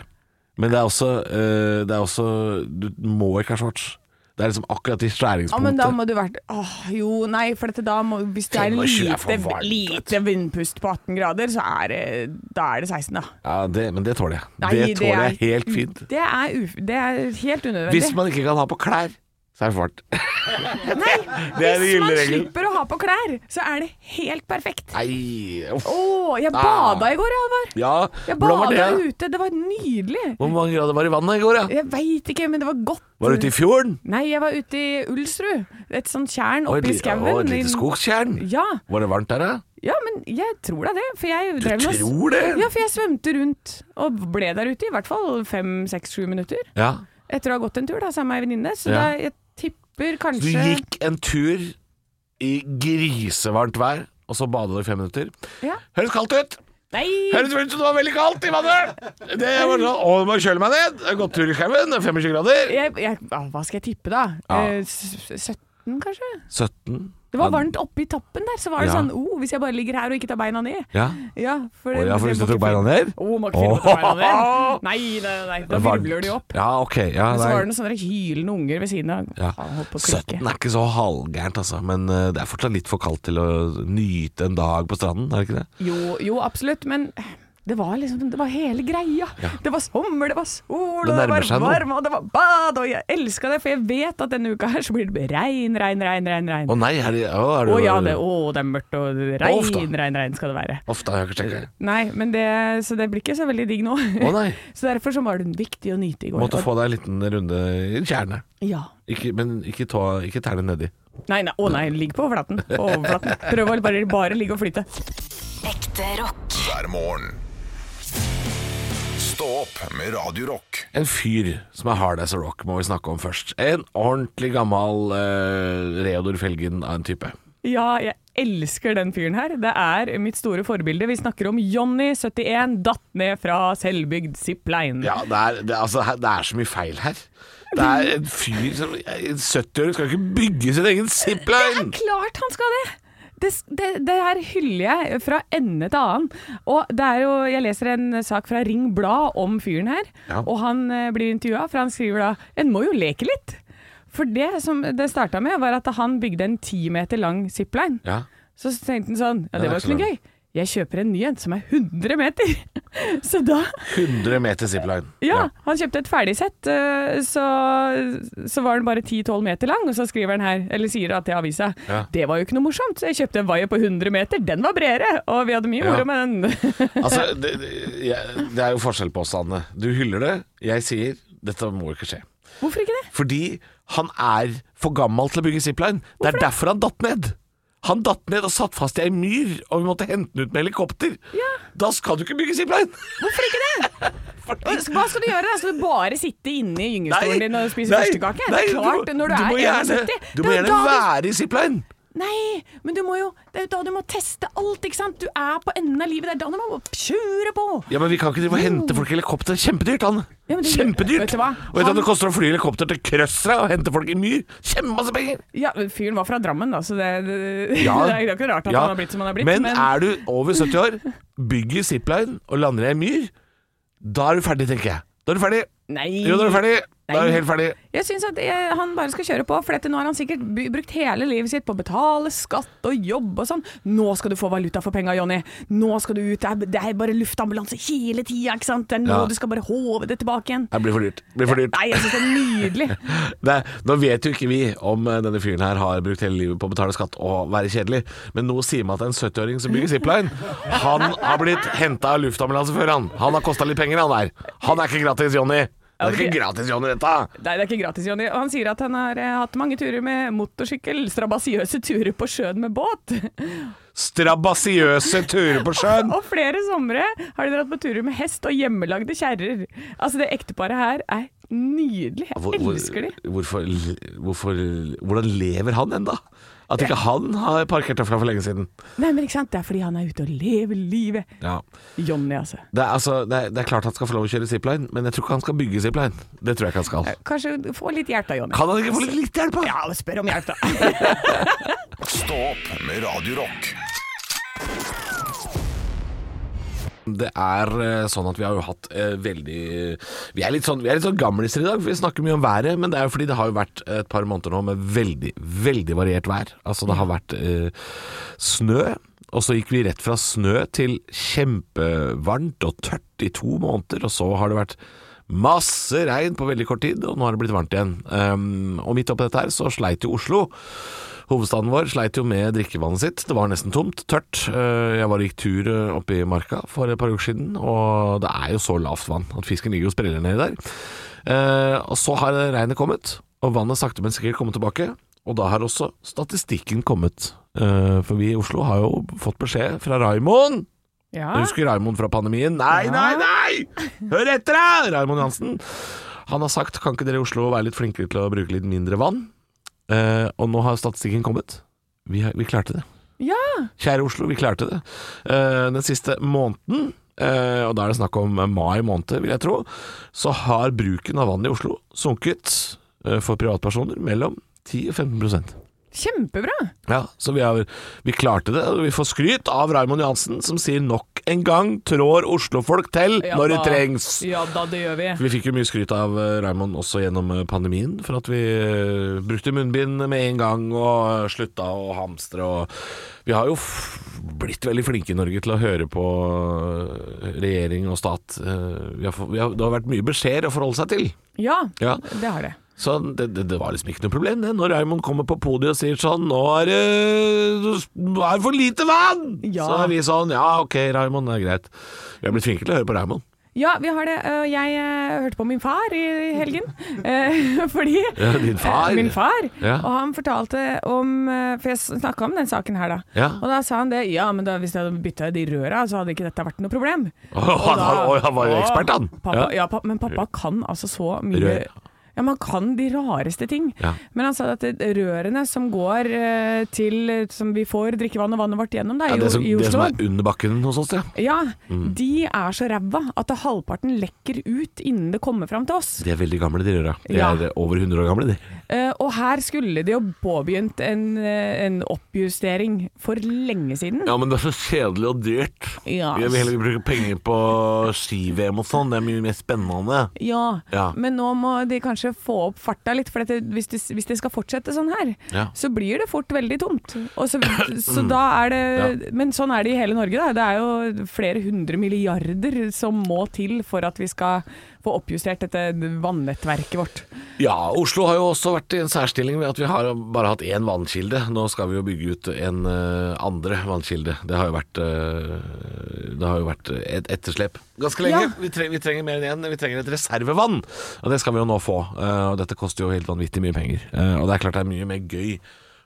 Speaker 3: Men det er også, eh, det er også Du må ikke ha shorts. Det er liksom akkurat i
Speaker 4: Ja, men da
Speaker 3: skjæringspunktet.
Speaker 4: må du vært Åh, jo, nei, for dette da må Hvis det er
Speaker 3: 25 er for varmt,
Speaker 4: lite,
Speaker 3: vet du.
Speaker 4: lite vindpust på 18 grader, så er det Da er det 16, da.
Speaker 3: Ja, det, men det tåler jeg.
Speaker 4: Nei,
Speaker 3: det
Speaker 4: det
Speaker 3: tåler
Speaker 4: er-
Speaker 3: jeg helt fint.
Speaker 4: Det er, uf det er helt unødvendig.
Speaker 3: Hvis man ikke kan ha på klær, så er det for varmt.
Speaker 4: nei,
Speaker 3: det er den
Speaker 4: hvis
Speaker 3: gylne
Speaker 4: man
Speaker 3: regelen.
Speaker 4: slipper å ha på klær, så er det helt perfekt.
Speaker 3: Nei, uff.
Speaker 4: Å, jeg bada i går, Alvar.
Speaker 3: Ja,
Speaker 4: Jeg
Speaker 3: hvordan var det?
Speaker 4: bada
Speaker 3: da?
Speaker 4: ute, det var nydelig.
Speaker 3: Hvor mange grader var det i vannet i går, da?
Speaker 4: Jeg veit ikke, men det var godt.
Speaker 3: Var du ute i fjorden?
Speaker 4: Nei, jeg var ute i Ulsrud. Et sånt tjern
Speaker 3: Og et,
Speaker 4: oppi
Speaker 3: li-
Speaker 4: skauen.
Speaker 3: og et
Speaker 4: i-
Speaker 3: lite skogstjern?
Speaker 4: Ja,
Speaker 3: Var det varmt der, da?
Speaker 4: ja, men jeg tror da det. For jeg
Speaker 3: Du
Speaker 4: drev med å s-
Speaker 3: tror det?
Speaker 4: Ja, for jeg svømte rundt og ble der ute i hvert fall fem, seks, sju minutter.
Speaker 3: Ja.
Speaker 4: Etter å ha gått en tur da, sammen med ei venninne. Så
Speaker 3: Ja.
Speaker 4: da, jeg tipper
Speaker 3: Du
Speaker 4: kanskje
Speaker 3: gikk en tur i grisevarmt vær, og så bada du i fem minutter.
Speaker 4: Ja.
Speaker 3: Høres kaldt ut!
Speaker 4: Nei!
Speaker 3: Høres ut som det var veldig kaldt i vannet! Det var sånn, Å, nå må jeg kjøle meg ned! Jeg har Gått tur i skauen, det er 25 grader.
Speaker 4: Jeg, jeg, ah, hva skal jeg tippe, da?
Speaker 3: Ja.
Speaker 4: Eh, s- 17, kanskje?
Speaker 3: 17.
Speaker 4: Det var
Speaker 3: Ja.
Speaker 4: varmt oppe i tappen der, så var det
Speaker 3: Ja.
Speaker 4: sånn oh, Hvis jeg bare ligger her og ikke tar beina ned
Speaker 3: Ja.
Speaker 4: Ja, for,
Speaker 3: Å ja, for
Speaker 4: det
Speaker 3: hvis du
Speaker 4: må ikke
Speaker 3: tok beina
Speaker 4: fin-
Speaker 3: ned?
Speaker 4: Å, må ikke finne på å ta beina ned. Nei, nei, nei, nei. Da
Speaker 3: Varmt.
Speaker 4: virvler de opp.
Speaker 3: Ja, ok. Ja,
Speaker 4: Men så
Speaker 3: nei.
Speaker 4: var det noen sånne hylende unger ved siden av.
Speaker 3: ja.
Speaker 4: Han holdt på å
Speaker 3: 17
Speaker 4: klikke.
Speaker 3: er ikke så halvgærent, altså. Men eh, det er fortsatt litt for kaldt til å nyte en dag på stranden, er det ikke det?
Speaker 4: Jo, jo, absolutt, men det var liksom Det var hele greia. Det var sommer, det var sol,
Speaker 3: Det
Speaker 4: og det
Speaker 3: nærmer
Speaker 4: var
Speaker 3: seg nå.
Speaker 4: varme, og det var bad, og jeg elska det, for jeg vet at denne uka her så blir det regn, regn, regn, regn. regn.
Speaker 3: Å nei, er det, å, er
Speaker 4: Å
Speaker 3: det
Speaker 4: ja, det, å, det er mørkt og regn,
Speaker 3: Ofte.
Speaker 4: regn, regn skal det være.
Speaker 3: Ofte har jeg ikke sjekket.
Speaker 4: Nei, men det, så det blir ikke så veldig digg nå.
Speaker 3: Å nei.
Speaker 4: så derfor så var det viktig å nyte i går.
Speaker 3: Måtte få deg en liten runde i tjernet.
Speaker 4: Ja.
Speaker 3: Ikke, men ikke, tå, ikke tærne nedi.
Speaker 4: Nei, nei, å nei, ligg på overflaten. På overflaten. Prøv å bare, bare ligge og flyte.
Speaker 6: Ekte rock.
Speaker 2: hver morgen. Stå opp med Radio Rock.
Speaker 3: En fyr som er hard as a rock, må vi snakke om først. En ordentlig gammal eh, Reodor Felgen av en type.
Speaker 4: Ja, jeg elsker den fyren her. Det er mitt store forbilde. Vi snakker om Johnny71, datt ned fra selvbygd zipline.
Speaker 3: Ja, det er, det, er- altså, her- det er så mye feil her. Det er en fyr som En 70-åring skal ikke bygge sin egen
Speaker 4: Det
Speaker 3: zipline!
Speaker 4: er klart han skal det! Det, det, det her hyller jeg fra ende til annen. Og det er jo, jeg leser en sak fra Ring Blad om fyren her,
Speaker 3: Ja.
Speaker 4: og han eh, blir intervjua, for han skriver da En må jo leke litt! For det som det starta med, var at han bygde en ti meter lang zipline.
Speaker 3: Ja.
Speaker 4: Så tenkte han sånn Ja,
Speaker 3: Den er
Speaker 4: det
Speaker 3: ikke
Speaker 4: var ikke
Speaker 3: så
Speaker 4: noe
Speaker 3: lang.
Speaker 4: gøy. Jeg kjøper en ny en som er 100 meter! Så da
Speaker 3: 100 meter zipline.
Speaker 4: ja, han kjøpte et ferdigsett, eh, så, så var den bare 10-12 meter lang, og så skriver han her, eller sier han til avisa,
Speaker 3: Ja.
Speaker 4: det var jo ikke noe morsomt, så jeg kjøpte en vaier på 100 meter, den var bredere, og vi hadde mye
Speaker 3: Ja.
Speaker 4: moro med den.
Speaker 3: Altså, det, det- jeg, det er jo forskjell på oss, Anne. Du hyller det, jeg sier dette må ikke skje.
Speaker 4: Hvorfor ikke det?
Speaker 3: Fordi han er for gammel til å bygge zipline. Det er derfor han datt ned. Han datt ned og satt fast i ei myr, og vi måtte hente den ut med helikopter. Da skal du ikke bygge zipline!
Speaker 4: Hvorfor ikke det? Hva skal du gjøre da? Skal du bare sitte inne i gyngestolen din og spise
Speaker 3: nei,
Speaker 4: førstekake?
Speaker 3: nei,
Speaker 4: Det er
Speaker 3: du må-
Speaker 4: klart, når du,
Speaker 3: du må
Speaker 4: er
Speaker 3: gjerne,
Speaker 4: 71.
Speaker 3: Du må
Speaker 4: det er jo
Speaker 3: gjerne
Speaker 4: da du-
Speaker 3: være i zipline.
Speaker 4: Nei, men du må jo, det er jo da du må teste alt, ikke sant? Du er på enden av livet, det er da du må kjøre på.
Speaker 3: Ja, men vi kan ikke drive og hente folk i helikopter. Kjempedyrt, Anne.
Speaker 4: Ja, men det-
Speaker 3: Kjempedyrt.
Speaker 4: Vet du hva?
Speaker 3: Og vet du hva
Speaker 4: Han-
Speaker 3: det koster å fly helikopter til Krøsra og hente folk i myr? Kjempemasse penger!
Speaker 4: Ja, men fyren var fra Drammen, da, så det, det,
Speaker 3: Ja.
Speaker 4: det er jo ikke rart at
Speaker 3: Ja,
Speaker 4: han har blitt som han har blitt.
Speaker 3: Men, er du over 70 år, bygger zipline og lander i ei myr, da er du ferdig, tenker jeg. Da er du ferdig.
Speaker 4: Nei.
Speaker 3: Jo, da er du ferdig. Da er
Speaker 4: Nei.
Speaker 3: du helt ferdig.
Speaker 4: Jeg syns at eh, han bare skal kjøre på, for dette, nå har han sikkert by- brukt hele livet sitt på å betale skatt og jobb og sånn. Nå skal du få valuta for penga, Jonny. Nå skal du ut. Det er, det er bare luftambulanse hele tida, ikke sant. Det er nå
Speaker 3: Ja.
Speaker 4: du skal bare håve det tilbake igjen.
Speaker 3: Nei, Det blir for dyrt. Det Blir for dyrt.
Speaker 4: Nei, jeg syns det er nydelig.
Speaker 3: Det, er- nå vet jo ikke vi om eh, denne fyren her har brukt hele livet på å betale skatt og være kjedelig, men nå sier man at en 70-åring som bygger zipline, han har blitt henta av luftambulanse før, han. Han har kosta litt penger, han der. Han er ikke gratis, Jonny. Det er ikke gratis, Jonny, dette.
Speaker 4: Nei, det er ikke gratis, Jonny. Og han sier at han har eh, hatt mange turer med motorsykkel, strabasiøse turer på sjøen med båt.
Speaker 3: strabasiøse turer på sjøen.
Speaker 4: Og flere somre har de dratt på turer med hest og hjemmelagde kjerrer. Altså, det ekteparet her er nydelig.
Speaker 3: Hvor-
Speaker 4: Jeg
Speaker 3: hvor-
Speaker 4: elsker de.
Speaker 3: Hvorfor, hvorfor, hvordan lever han ennå? At ikke han har parkert derfra for lenge siden.
Speaker 4: Nei, men ikke sant? Det er fordi han er ute og lever livet.
Speaker 3: Ja.
Speaker 4: Johnny, altså.
Speaker 3: Det, er, altså, det, er, det er klart han skal få lov å kjøre zipline, men jeg tror ikke han skal bygge zipline. Det tror jeg ikke han skal.
Speaker 4: Eh, Kanskje få litt hjelp da, Johnny.
Speaker 3: Kan han ikke få litt, litt hjelp? da?
Speaker 4: Ja, spør om hjelp, da.
Speaker 2: Stå opp med Radio Rock.
Speaker 3: Det er eh, sånn at vi har jo hatt eh, veldig vi er, litt sånn, vi er litt sånn gamliser i dag, for vi snakker mye om været. Men det er jo fordi det har jo vært et par måneder nå med veldig, veldig variert vær. Altså det har vært eh, snø, og så gikk vi rett fra snø til kjempevarmt og tørt i to måneder. Og så har det vært masse regn på veldig kort tid, og nå har det blitt varmt igjen. Um, og midt oppi dette her så sleit jo Oslo. Hovedstaden vår sleit jo med drikkevannet sitt. Det var nesten tomt, tørt. Eh, Jeg var og gikk tur eh, oppe i marka for et par uker siden, og det er jo så lavt vann at fisken ligger og spreller nedi der. Eh, Og så har regnet kommet, og vannet sakte, men sikkert kommet tilbake. Og da har også statistikken kommet. Eh, For vi i Oslo har jo fått beskjed fra Raimond
Speaker 4: Ja.
Speaker 3: jeg husker Raimond fra pandemien. Nei, nei, nei! Hør etter, da! Raimond Johansen. Han har sagt kan ikke dere i Oslo være litt flinkere til å bruke litt mindre vann? Eh, og nå har statistikken kommet. Vi, har, vi klarte det.
Speaker 4: ja.
Speaker 3: Kjære Oslo, vi klarte det. Eh, den siste måneden, eh, og da er det snakk om mai måned, vil jeg tro, så har bruken av vann i Oslo sunket eh, for privatpersoner mellom 10 og 15
Speaker 4: Kjempebra.
Speaker 3: ja, så vi, har, vi klarte det, og vi får skryt av Raimond Johansen, som sier nok en gang trår oslofolk til
Speaker 4: Ja
Speaker 3: når det
Speaker 4: da.
Speaker 3: trengs.
Speaker 4: Ja da, det gjør vi.
Speaker 3: Vi fikk jo mye skryt av eh, Raimond også gjennom eh, pandemien, for at vi eh, brukte munnbind med en gang og slutta å hamstre og Vi har jo f blitt veldig flinke i Norge til å høre på eh, regjering og stat. Eh, Vi har, få- vi har, det har vært mye beskjeder å forholde seg til.
Speaker 4: Ja,
Speaker 3: Ja.
Speaker 4: det har det.
Speaker 3: Så det, det, det var liksom ikke noe problem det. Når Raymond kommer på podiet og sier sånn Nå er det, nå er det for lite vann!
Speaker 4: Ja.
Speaker 3: Så er vi sånn Ja, ok, Raymond, det er greit. Vi har blitt flinke til å høre på Raymond.
Speaker 4: Ja, vi har det. Øh, Jeg øh, hørte på min far i helgen. Eh, Fordi
Speaker 3: Ja, din far.
Speaker 4: Eh, Min far.
Speaker 3: Ja.
Speaker 4: Og han fortalte om eh, For jeg snakka om den saken her, da.
Speaker 3: Ja.
Speaker 4: Og da sa han det. Ja, men da, hvis jeg hadde bytta de røra, så hadde ikke dette vært noe problem.
Speaker 3: Å, han- han- han var jo
Speaker 4: Å,
Speaker 3: ekspert, han.
Speaker 4: Pappa,
Speaker 3: Ja.
Speaker 4: ja, pa, men pappa kan altså så mye
Speaker 3: Rør.
Speaker 4: Ja, man kan de rareste ting.
Speaker 3: Ja.
Speaker 4: Men han sa at det- rørene som går eh, til Som vi får drikkevannet og vannet vårt gjennom, da,
Speaker 3: Ja,
Speaker 4: i,
Speaker 3: det, som,
Speaker 4: i
Speaker 3: det som
Speaker 4: Oslo
Speaker 3: er under bakken hos oss, ja.
Speaker 4: ja,
Speaker 3: Mm.
Speaker 4: de er så ræva at det halvparten lekker ut innen det kommer fram til oss.
Speaker 3: De er veldig gamle, de røra. De
Speaker 4: Ja.
Speaker 3: er over 100 år gamle, de.
Speaker 4: Eh, og her skulle de jo påbegynt en, eh, en oppjustering for lenge siden.
Speaker 3: Ja, men det er så kjedelig og dyrt.
Speaker 4: Ja.
Speaker 3: Vi vil heller bruke penger på ski-VM og sånn. Det er mye mer spennende.
Speaker 4: Ja,
Speaker 3: Ja.
Speaker 4: men nå må de kanskje få opp farta litt, for at det, hvis, det, hvis det skal fortsette sånn her,
Speaker 3: Ja.
Speaker 4: så blir det fort veldig tomt. Og så, så da er det Men sånn er det i hele Norge, da. Det er jo flere hundre milliarder som må til for at vi skal få oppjustert dette vannnettverket vårt.
Speaker 3: Ja, Oslo har jo også vært i en særstilling ved at vi har bare hatt én vannkilde. Nå skal vi jo bygge ut en eh, andre vannkilde. Det har jo vært, eh, det har jo vært et etterslep ganske lenge.
Speaker 4: Ja.
Speaker 3: Vi, trenger, vi trenger mer enn én. Vi trenger et reservevann, og det skal vi jo nå få. Eh, og dette koster jo helt vanvittig mye penger. Eh, og det er klart det er mye mer gøy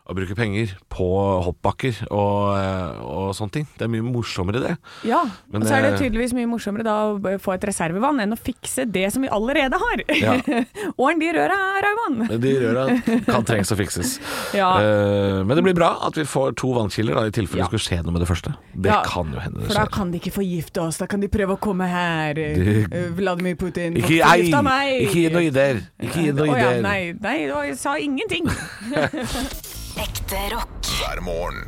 Speaker 3: å bruke penger på hoppbakker og, eh, og sånne ting. Det er mye morsommere det.
Speaker 4: Ja,
Speaker 3: Men eh,
Speaker 4: og så er det
Speaker 3: det-
Speaker 4: tydeligvis mye morsommere da å b- få et reservevann enn å fikse det som vi allerede har.
Speaker 3: Ja.
Speaker 4: Ordn de røra her, Raymond!
Speaker 3: Men De røra kan trengs å fikses.
Speaker 4: Ja.
Speaker 3: Eh, men det blir bra at vi får to vannkilder da, i tilfelle
Speaker 4: Ja.
Speaker 3: det skulle skje noe med det første. Det
Speaker 4: Ja,
Speaker 3: kan jo hende det
Speaker 4: For da
Speaker 3: skjer.
Speaker 4: kan de ikke forgifte oss, da kan de prøve å komme her.
Speaker 3: Det-
Speaker 4: Eh, Vladimir Putin,
Speaker 3: Ikke, ei,
Speaker 4: forgifta meg!
Speaker 3: ikke gi noe ideer! Ikke gi noe
Speaker 4: Å ja,
Speaker 3: ideer.
Speaker 4: nei, nei, jeg sa ingenting.
Speaker 6: Ekte rock.
Speaker 2: hver morgen.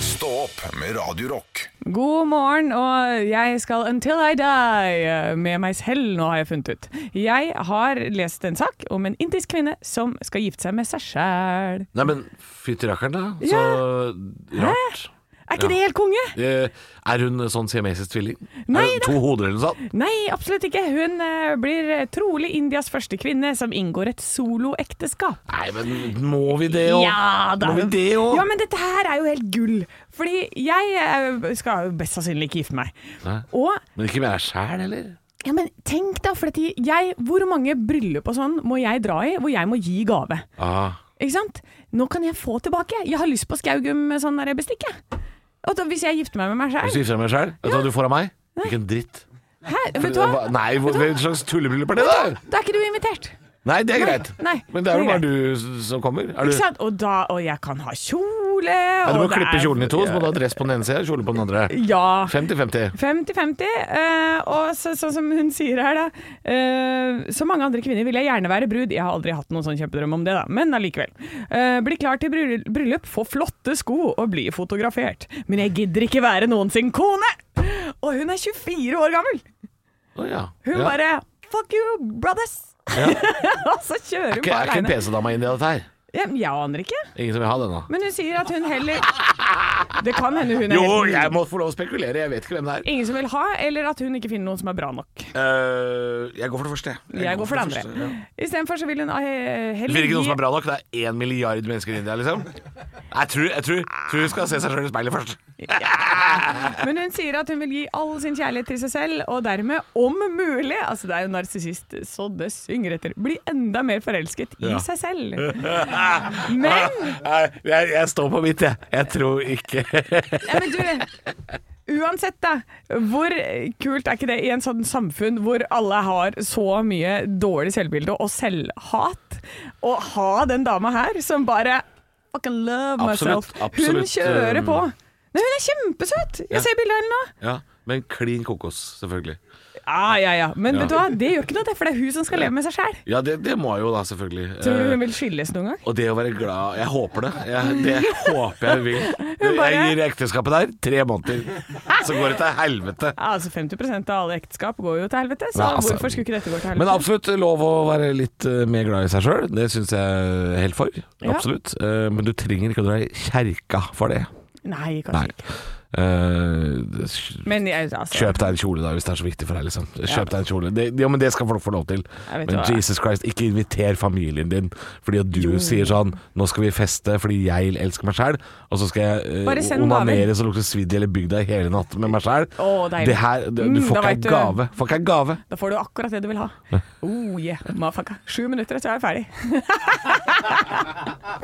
Speaker 2: Stå opp med Radio Rock.
Speaker 4: God morgen, og jeg skal Until I Die Eh, med meg selv, nå har jeg funnet ut. Jeg har lest en sak om en indisk kvinne som skal gifte seg med seg sjæl.
Speaker 3: Nei, men fytti rakkeren, da. Så rart.
Speaker 4: Er
Speaker 3: Ja.
Speaker 4: ikke det helt konge?
Speaker 3: Eh, Er hun sånn siamesisk tvilling?
Speaker 4: Nei
Speaker 3: Er hun to hoder eller noe sånt?
Speaker 4: Nei, absolutt ikke. Hun eh, blir eh, trolig Indias første kvinne som inngår et soloekteskap.
Speaker 3: Nei, men må vi det òg? må vi det òg?
Speaker 4: Ja, men dette her er jo helt gull. Fordi jeg eh, skal jo best sannsynlig ikke gifte meg.
Speaker 3: Nei.
Speaker 4: Og
Speaker 3: men ikke med deg sjæl, heller?
Speaker 4: ja, men tenk da, for at jeg, hvor mange bryllup og sånn må jeg dra i hvor jeg må gi gave?
Speaker 3: Ah,
Speaker 4: Ikke sant? Nå kan jeg få tilbake. Jeg har lyst på Skaugum med sånn der bestikk, jeg. Og da, hvis jeg gifter meg med meg
Speaker 3: Hvis
Speaker 4: sjøl
Speaker 3: du gifter deg med deg sjøl, vet du hva du får av meg? Hvilken dritt.
Speaker 4: Vet du hva?
Speaker 3: Hva- Nei, hvor- hvilken slags tullebryllup er det der?
Speaker 4: Da er ikke du invitert.
Speaker 3: Nei, det er
Speaker 4: Nei,
Speaker 3: greit.
Speaker 4: nei,
Speaker 3: Men det er jo
Speaker 4: det er
Speaker 3: bare du s- som kommer. Er du,
Speaker 4: Ikke sant? Og, da, og jeg kan ha kjole
Speaker 3: ja, du må
Speaker 4: og det
Speaker 3: klippe
Speaker 4: er-
Speaker 3: kjolen i to, så må du ha dress på den ene siden, kjole på den andre.
Speaker 4: Ja.
Speaker 3: 50-50.
Speaker 4: 50-50. eh, og så, sånn som hun sier her, da. eh, så mange andre kvinner vil jeg gjerne være brud. Jeg har aldri hatt noen sånn kjempedrøm om det, da, men allikevel. Eh, bli klar til bryll- bryllup, få flotte sko og bli fotografert. Men jeg gidder ikke være noen sin kone! Og hun er 24 år gammel!
Speaker 3: Å ja.
Speaker 4: Hun
Speaker 3: ja.
Speaker 4: bare Fuck you, brothers!
Speaker 3: Ja.
Speaker 4: og så kjører hun
Speaker 3: Ikke-
Speaker 4: på
Speaker 3: Er ikke en
Speaker 4: aleine.
Speaker 3: PC-dame inni dette her?
Speaker 4: Jeg aner ikke.
Speaker 3: Ingen som vil ha den nå?
Speaker 4: Men hun sier at hun heller Det kan hende hun er
Speaker 3: Jo,
Speaker 4: helt
Speaker 3: jeg må få lov å spekulere, jeg vet ikke hvem det er.
Speaker 4: Ingen som vil ha, eller at hun ikke finner noen som er bra nok.
Speaker 3: Eh, jeg går for det første.
Speaker 4: Jeg går for det andre. Istedenfor så vil hun eh,
Speaker 3: Det
Speaker 4: heller
Speaker 3: blir ikke noen
Speaker 4: gi
Speaker 3: som er bra nok. Det er én milliard mennesker i India, liksom. Jeg tror, jeg tror, tror hun skal se seg sjøl i speilet først.
Speaker 4: Men hun sier at hun vil gi all sin kjærlighet til seg selv, og dermed, om mulig Altså, det er jo narsissist så det synger etter. Bli enda mer forelsket i
Speaker 3: Ja.
Speaker 4: seg selv. Men,
Speaker 3: Nei, jeg, jeg står på mitt, jeg. Jeg tror ikke
Speaker 4: ja, men du Uansett, da. Hvor kult er ikke det i en sånn samfunn hvor alle har så mye dårlig selvbilde og selvhat? Å ha den dama her som bare fucking love
Speaker 3: Absolutt,
Speaker 4: myself.
Speaker 3: absolutt,
Speaker 4: Hun kjører
Speaker 3: um,
Speaker 4: på. Nei, hun er kjempesøt! Jeg
Speaker 3: Ja.
Speaker 4: ser bildet av henne nå.
Speaker 3: Ja, Men klin kokos, selvfølgelig.
Speaker 4: Ah, Ja, ja, ja. Men
Speaker 3: Ja.
Speaker 4: vet du hva, det gjør ikke noe, det, for det er hun som skal leve med seg sjæl.
Speaker 3: Ja, det, det må jeg jo da, selvfølgelig.
Speaker 4: Tror du
Speaker 3: Eh,
Speaker 4: hun vil skilles noen gang?
Speaker 3: og det å være glad Jeg håper det. Jeg, det håper jeg hun vil. Jeg
Speaker 4: bare-
Speaker 3: gir ekteskapet der tre måneder, så går det til helvete.
Speaker 4: Ja, altså 50 av alle ekteskap går jo til helvete, så
Speaker 3: Nei, altså-
Speaker 4: hvorfor skulle ikke dette gå til
Speaker 3: Men
Speaker 4: helvete?
Speaker 3: absolutt lov å være litt eh, mer glad i seg sjøl. Det syns jeg helt for.
Speaker 4: Ja.
Speaker 3: Absolutt. Eh, Men du trenger ikke å dra i kjerka for det.
Speaker 4: Nei,
Speaker 3: Nei.
Speaker 4: kanskje ikke.
Speaker 3: Eh, kj-
Speaker 4: Men jeg, altså,
Speaker 3: Kjøp deg en kjole, da, hvis det er så viktig for deg. liksom Kjøp deg en kjole det, Ja, men det skal folk få lov til.
Speaker 4: Jeg vet
Speaker 3: Men
Speaker 4: hva.
Speaker 3: Jesus Christ, ikke inviter familien din fordi at du sier sånn 'Nå skal vi feste fordi jeg elsker meg sjæl', og så skal jeg
Speaker 4: Bare
Speaker 3: eh,
Speaker 4: send gaver.
Speaker 3: onanere så lukter svidd eller bygda i hele natt med meg sjæl.
Speaker 4: Å, deilig.
Speaker 3: Det her- det- Du
Speaker 4: Mm,
Speaker 3: får
Speaker 4: da
Speaker 3: ikke
Speaker 4: vet
Speaker 3: ei
Speaker 4: du.
Speaker 3: gave. Får ikke ei gave.
Speaker 4: da får du akkurat det du vil ha. Oh yeah, motherfucker. Sju minutter, så er jeg ferdig.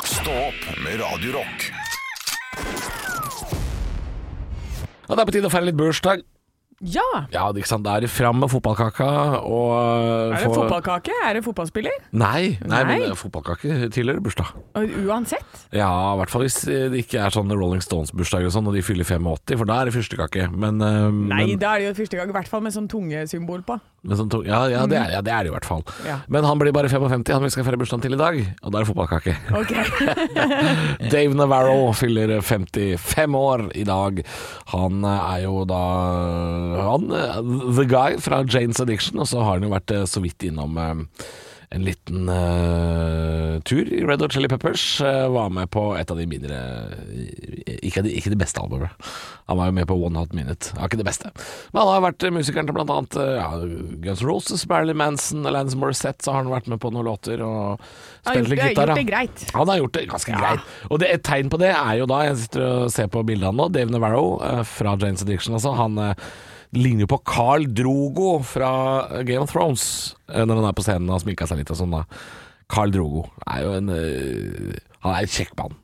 Speaker 2: Stå opp med Radio Rock.
Speaker 3: Ja, det er på tide å feire litt bursdag.
Speaker 4: Ja!
Speaker 3: Ja, det er ikke sant. Da er det fram med fotballkaka og
Speaker 4: Er det fotballkake? Er det fotballspiller?
Speaker 3: Nei, nei,
Speaker 4: Nei.
Speaker 3: men fotballkake tilhører bursdag.
Speaker 4: Og uansett.
Speaker 3: Ja, i hvert fall hvis det ikke er sånn Rolling Stones-bursdag og sånn, og de fyller 85, for da er det fyrstekake. Men, eh,
Speaker 4: Nei,
Speaker 3: men,
Speaker 4: da er det jo første gang, i hvert fall med sånn tungesymbol på.
Speaker 3: men sånn to, ja, ja, det er, ja, det er det i hvert fall.
Speaker 4: Mm. Ja.
Speaker 3: Men han blir bare 55, han vi skal feire bursdagen til i dag, og da er det fotballkake.
Speaker 4: Ok.
Speaker 3: Dave Navarro fyller 55 år i dag. Han eh, er jo da han, eh, the guy fra Janes Addiction, og så har han jo vært eh, så vidt innom eh, en liten eh, tur i Red Hot Chili Peppers. eh, var med på et av de mindre Ikke, de, ikke det beste albumet. Han var jo med på One Hot Minute. Ja, ikke det beste. Men han har vært eh, musikeren til blant annet eh, ja, Guns N' Roses, Marilyn Manson, Lance Morissette, så har han vært med på noen låter og
Speaker 4: Har
Speaker 3: spilt
Speaker 4: gjort
Speaker 3: litt
Speaker 4: det,
Speaker 3: gitar.
Speaker 4: gjort
Speaker 3: da.
Speaker 4: det greit.
Speaker 3: Han har gjort det ganske greit. Og det, et tegn på det er jo da, jeg sitter og ser på bildene nå, Dave Navarro eh, fra Janes Addiction, altså. Han eh, ligner jo på Carl Drogo fra eh, Game of Thrones eh, når han er på scenen og har sminka seg litt og sånn, da. Carl Drogo er jo en eh, Han er en kjekk mann.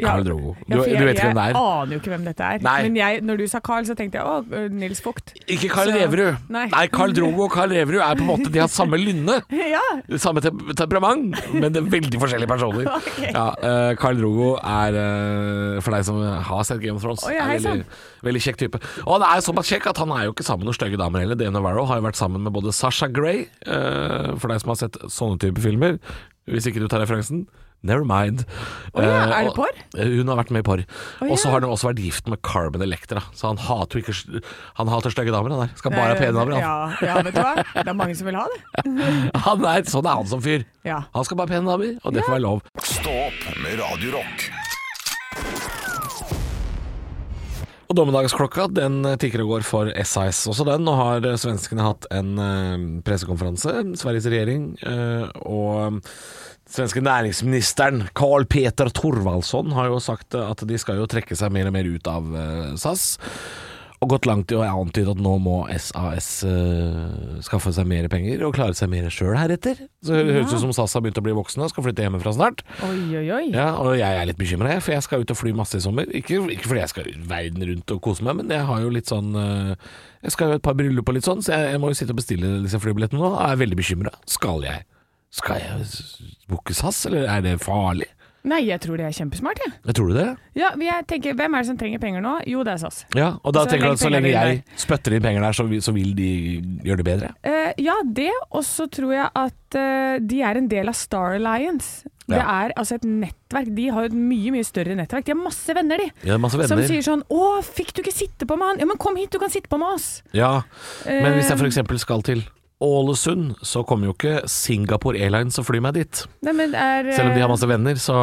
Speaker 4: Ja.
Speaker 3: Carl Drogo. Du,
Speaker 4: Ja, for
Speaker 3: du vet ikke hvem det
Speaker 4: Jeg
Speaker 3: er?
Speaker 4: aner jo ikke hvem dette er.
Speaker 3: Nei.
Speaker 4: Men jeg, når du sa Carl, så tenkte jeg å, eh, Nils Vogt.
Speaker 3: Ikke Carl
Speaker 4: Så-
Speaker 3: Reverud.
Speaker 4: Nei.
Speaker 3: Nei, Carl Drogo og Carl Reverud er på en måte De har samme lynne.
Speaker 4: Ja,
Speaker 3: Samme te- temperament, men det er veldig forskjellige personer.
Speaker 4: Ok.
Speaker 3: Ja, eh, Carl Drogo er, eh, for deg som har sett Game of Thrones,
Speaker 4: Å, ja,
Speaker 3: er
Speaker 4: hei
Speaker 3: veldig, veldig kjekk type. Og han er såpass kjekk at han er jo ikke sammen med noen stygge damer heller. Dave Navarro har jo vært sammen med både Sasha Grey, eh, for deg som har sett sånne type filmer, hvis ikke du tar referansen. Never mind.
Speaker 4: ja,
Speaker 3: Eh,
Speaker 4: er det
Speaker 3: og-
Speaker 4: porr?
Speaker 3: Eh, Hun har vært med i porr.
Speaker 4: ja.
Speaker 3: Og så har hun også vært gift med Carmen Electra, så han hater jo ikke Han hater stygge damer, han der. Skal bare ha pene damer, han.
Speaker 4: Eh, Ja, ja, vet du hva. Det er mange som vil ha det.
Speaker 3: Han er, sånn er han som fyr.
Speaker 4: Ja.
Speaker 3: Han skal bare ha pene damer, og det får være lov.
Speaker 2: Stå opp med Radio Rock.
Speaker 3: Og dommedagsklokka den tikker og går for SAS også den. Nå har eh, svenskene hatt en eh, pressekonferanse, Sveriges regjering, eh, og eh, svenske næringsministeren Carl Peter Thorvaldsson har jo sagt eh, at de skal jo trekke seg mer og mer ut av eh, SAS. og gått langt i å antyde at nå må SAS eh, skaffe seg mer penger og klare seg mer sjøl heretter. Så det høres ut som SAS har begynt å bli voksne og skal flytte hjemmefra snart.
Speaker 4: Oi, oi, oi.
Speaker 3: Ja, og jeg er litt bekymra, for jeg skal ut og fly masse i sommer. Ikke, ikke fordi jeg skal verden rundt og kose meg, men jeg har jo litt sånn eh, Jeg skal jo et par bryllup og litt sånn, så jeg, jeg må jo sitte og bestille disse flybillettene nå. Og jeg er veldig bekymra. Skal jeg Skal jeg s- booke SAS, eller er det farlig?
Speaker 4: Nei, jeg tror det er kjempesmart, jeg.
Speaker 3: Jeg tror du det?
Speaker 4: Ja, men jeg tenker, hvhvem er det som trenger penger nå? Jo, det er SAS.
Speaker 3: Ja, og da
Speaker 4: Så
Speaker 3: tenker du at
Speaker 4: legg
Speaker 3: så lenge
Speaker 4: penger inn
Speaker 3: jeg spytter inn penger der, så, vi- så vil de gjøre det bedre?
Speaker 4: Eh, ja, det. Og så tror jeg at eh, de er en del av Star Alliance. Det
Speaker 3: Ja.
Speaker 4: er altså et nettverk. De har jo et mye mye større nettverk. De har masse venner, de.
Speaker 3: Ja, masse
Speaker 4: Som
Speaker 3: venner.
Speaker 4: sier sånn 'Å, fikk du ikke sitte på med han?' Ja, men kom hit, du kan sitte på med oss.
Speaker 3: Ja, men hvis jeg
Speaker 4: Eh,
Speaker 3: f.eks. skal til Ålesund, så kommer jo ikke Singapore Airlines og flyr meg dit.
Speaker 4: Nei, men, det er, eh,
Speaker 3: Selv om de har masse venner, så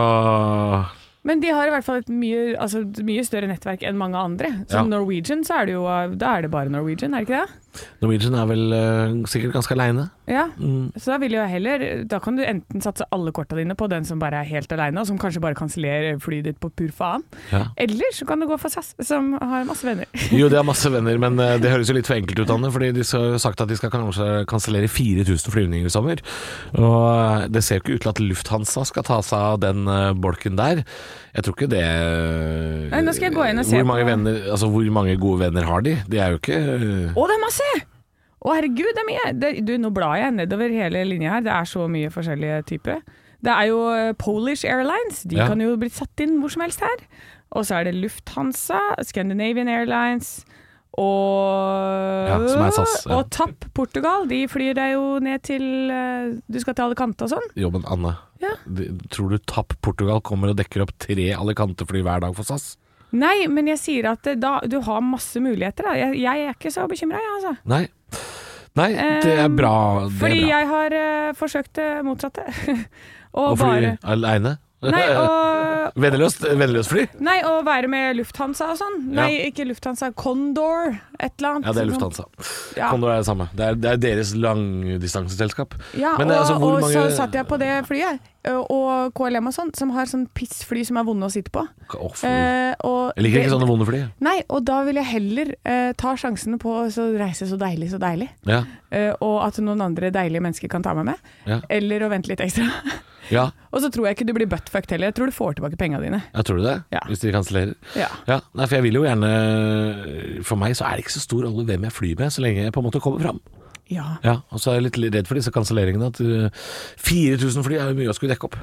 Speaker 4: men de har i hvert fall et mye, altså, et mye større nettverk enn mange andre. Som
Speaker 3: Ja.
Speaker 4: Norwegian, så er det jo eh, Da er det bare Norwegian, er det ikke det?
Speaker 3: Norwegian er vel eh, sikkert ganske aleine.
Speaker 4: Ja.
Speaker 3: Mm.
Speaker 4: Så da vil jeg heller Da kan du enten satse alle korta dine på den som bare er helt aleine, og som kanskje bare kansellerer flyet ditt på pur faen.
Speaker 3: Ja.
Speaker 4: Eller så kan du gå for SAS, som har masse venner.
Speaker 3: Jo, de har masse venner, men eh, det høres jo litt for enkelt ut, Anne. Fordi de har jo sagt at de skal kanskje kansellere 4000 flyvninger i sommer. Og eh, det ser jo ikke ut til at Lufthansa skal ta seg av den eh, bolken der. Jeg tror ikke det eh,
Speaker 4: Nei, nå skal jeg gå inn og se
Speaker 3: hvor mange,
Speaker 4: på-
Speaker 3: venner, altså, hvor mange gode venner har de? De er jo ikke
Speaker 4: Å, det er masse! Å, herregud, det er mye! Det, du, nå blar jeg nedover hele linja her. Det er så mye forskjellige typer. Det er jo eh, Polish Airlines. De
Speaker 3: Ja.
Speaker 4: kan jo bli satt inn hvor som helst her. Og så er det Lufthansa, Scandinavian Airlines og
Speaker 3: Ja, som er SAS, ja.
Speaker 4: Og TAP Portugal. De flyr deg jo ned til eh, Du skal til Alicante og sånn.
Speaker 3: eh, Jobben, Anne.
Speaker 4: Ja.
Speaker 3: De- Tror du TAP Portugal kommer og dekker opp tre Alicante-fly hver dag for SAS?
Speaker 4: Nei, men jeg sier at eh, da, du har masse muligheter. Da. Jeg, jeg er ikke så bekymra, jeg, altså.
Speaker 3: Nei. Nei, det er bra. Det
Speaker 4: Eh, Fordi
Speaker 3: er bra.
Speaker 4: jeg har eh, forsøkt det motsatte. og
Speaker 3: Og fly
Speaker 4: bare
Speaker 3: aleine?
Speaker 4: nei, og,
Speaker 3: Venneløst, venneløst fly?
Speaker 4: nei, å være med Lufthansa og sånn.
Speaker 3: Ja.
Speaker 4: Nei, ikke Lufthansa. Condor, et eller annet.
Speaker 3: Ja, det er Lufthansa.
Speaker 4: Ja.
Speaker 3: Condor er det samme. Det er, det er deres langdistanseselskap.
Speaker 4: Ja,
Speaker 3: Men,
Speaker 4: og,
Speaker 3: altså, hvor
Speaker 4: og så
Speaker 3: mange-
Speaker 4: satt jeg på det flyet, ø, og KLM og sånn, som har sånn pissfly som er vonde å sitte på.
Speaker 3: Å, fy.
Speaker 4: Eh,
Speaker 3: Mm.
Speaker 4: og
Speaker 3: jeg liker ikke
Speaker 4: det-
Speaker 3: sånne vonde fly.
Speaker 4: Nei, og da vil jeg heller eh, ta sjansene på å så reise så deilig, så deilig.
Speaker 3: Ja,
Speaker 4: Eh, og at noen andre deilige mennesker kan ta meg med.
Speaker 3: Ja.
Speaker 4: Eller å vente litt ekstra.
Speaker 3: ja
Speaker 4: Og så tror jeg ikke du blir buttfucked heller. Jeg tror du får tilbake pengene dine.
Speaker 3: jeg tror du det?
Speaker 4: Ja.
Speaker 3: Hvis de kansellerer?
Speaker 4: Ja.
Speaker 3: Ja, nei, for jeg vil jo gjerne For meg så er det ikke så stor rolle hvem jeg flyr med, så lenge jeg på en måte kommer fram.
Speaker 4: Ja.
Speaker 3: Ja, og så er jeg litt redd for disse kanselleringene. At uh, 4000 fly er jo mye å skulle dekke opp.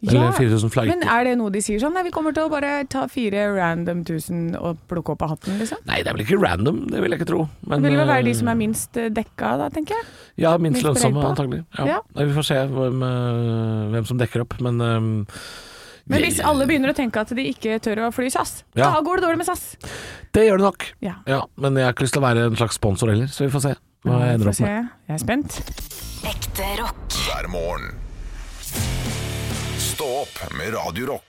Speaker 3: Eller 4000 flighter.
Speaker 4: Men er det noe de sier sånn? Nei, vi kommer til å bare ta fire random tusen og plukke opp av hatten, liksom.
Speaker 3: Nei, det er vel ikke random, det vil jeg ikke tro. Men,
Speaker 4: Det vil vel være de
Speaker 3: uh,
Speaker 4: som er minst eh, dekka da, tenker jeg.
Speaker 3: Ja, minst
Speaker 4: Minst beregn
Speaker 3: lønnsomme,
Speaker 4: på.
Speaker 3: antagelig. Ja.
Speaker 4: Ja.
Speaker 3: Nei, Vi får se hvem, eh, hvem som dekker opp, men eh,
Speaker 4: Men
Speaker 3: det-
Speaker 4: hvis alle begynner å tenke at de ikke tør å fly SAS,
Speaker 3: Ja.
Speaker 4: da går det dårlig med SAS.
Speaker 3: Det gjør det nok.
Speaker 4: Ja.
Speaker 3: Ja, men jeg har ikke lyst til å være en slags sponsor heller, så vi får se hva jeg ender
Speaker 4: Får
Speaker 3: opp
Speaker 4: se.
Speaker 3: med.
Speaker 4: Jeg er spent.
Speaker 6: Ekte rock.
Speaker 2: hver morgen. Stå opp med Radio Rock.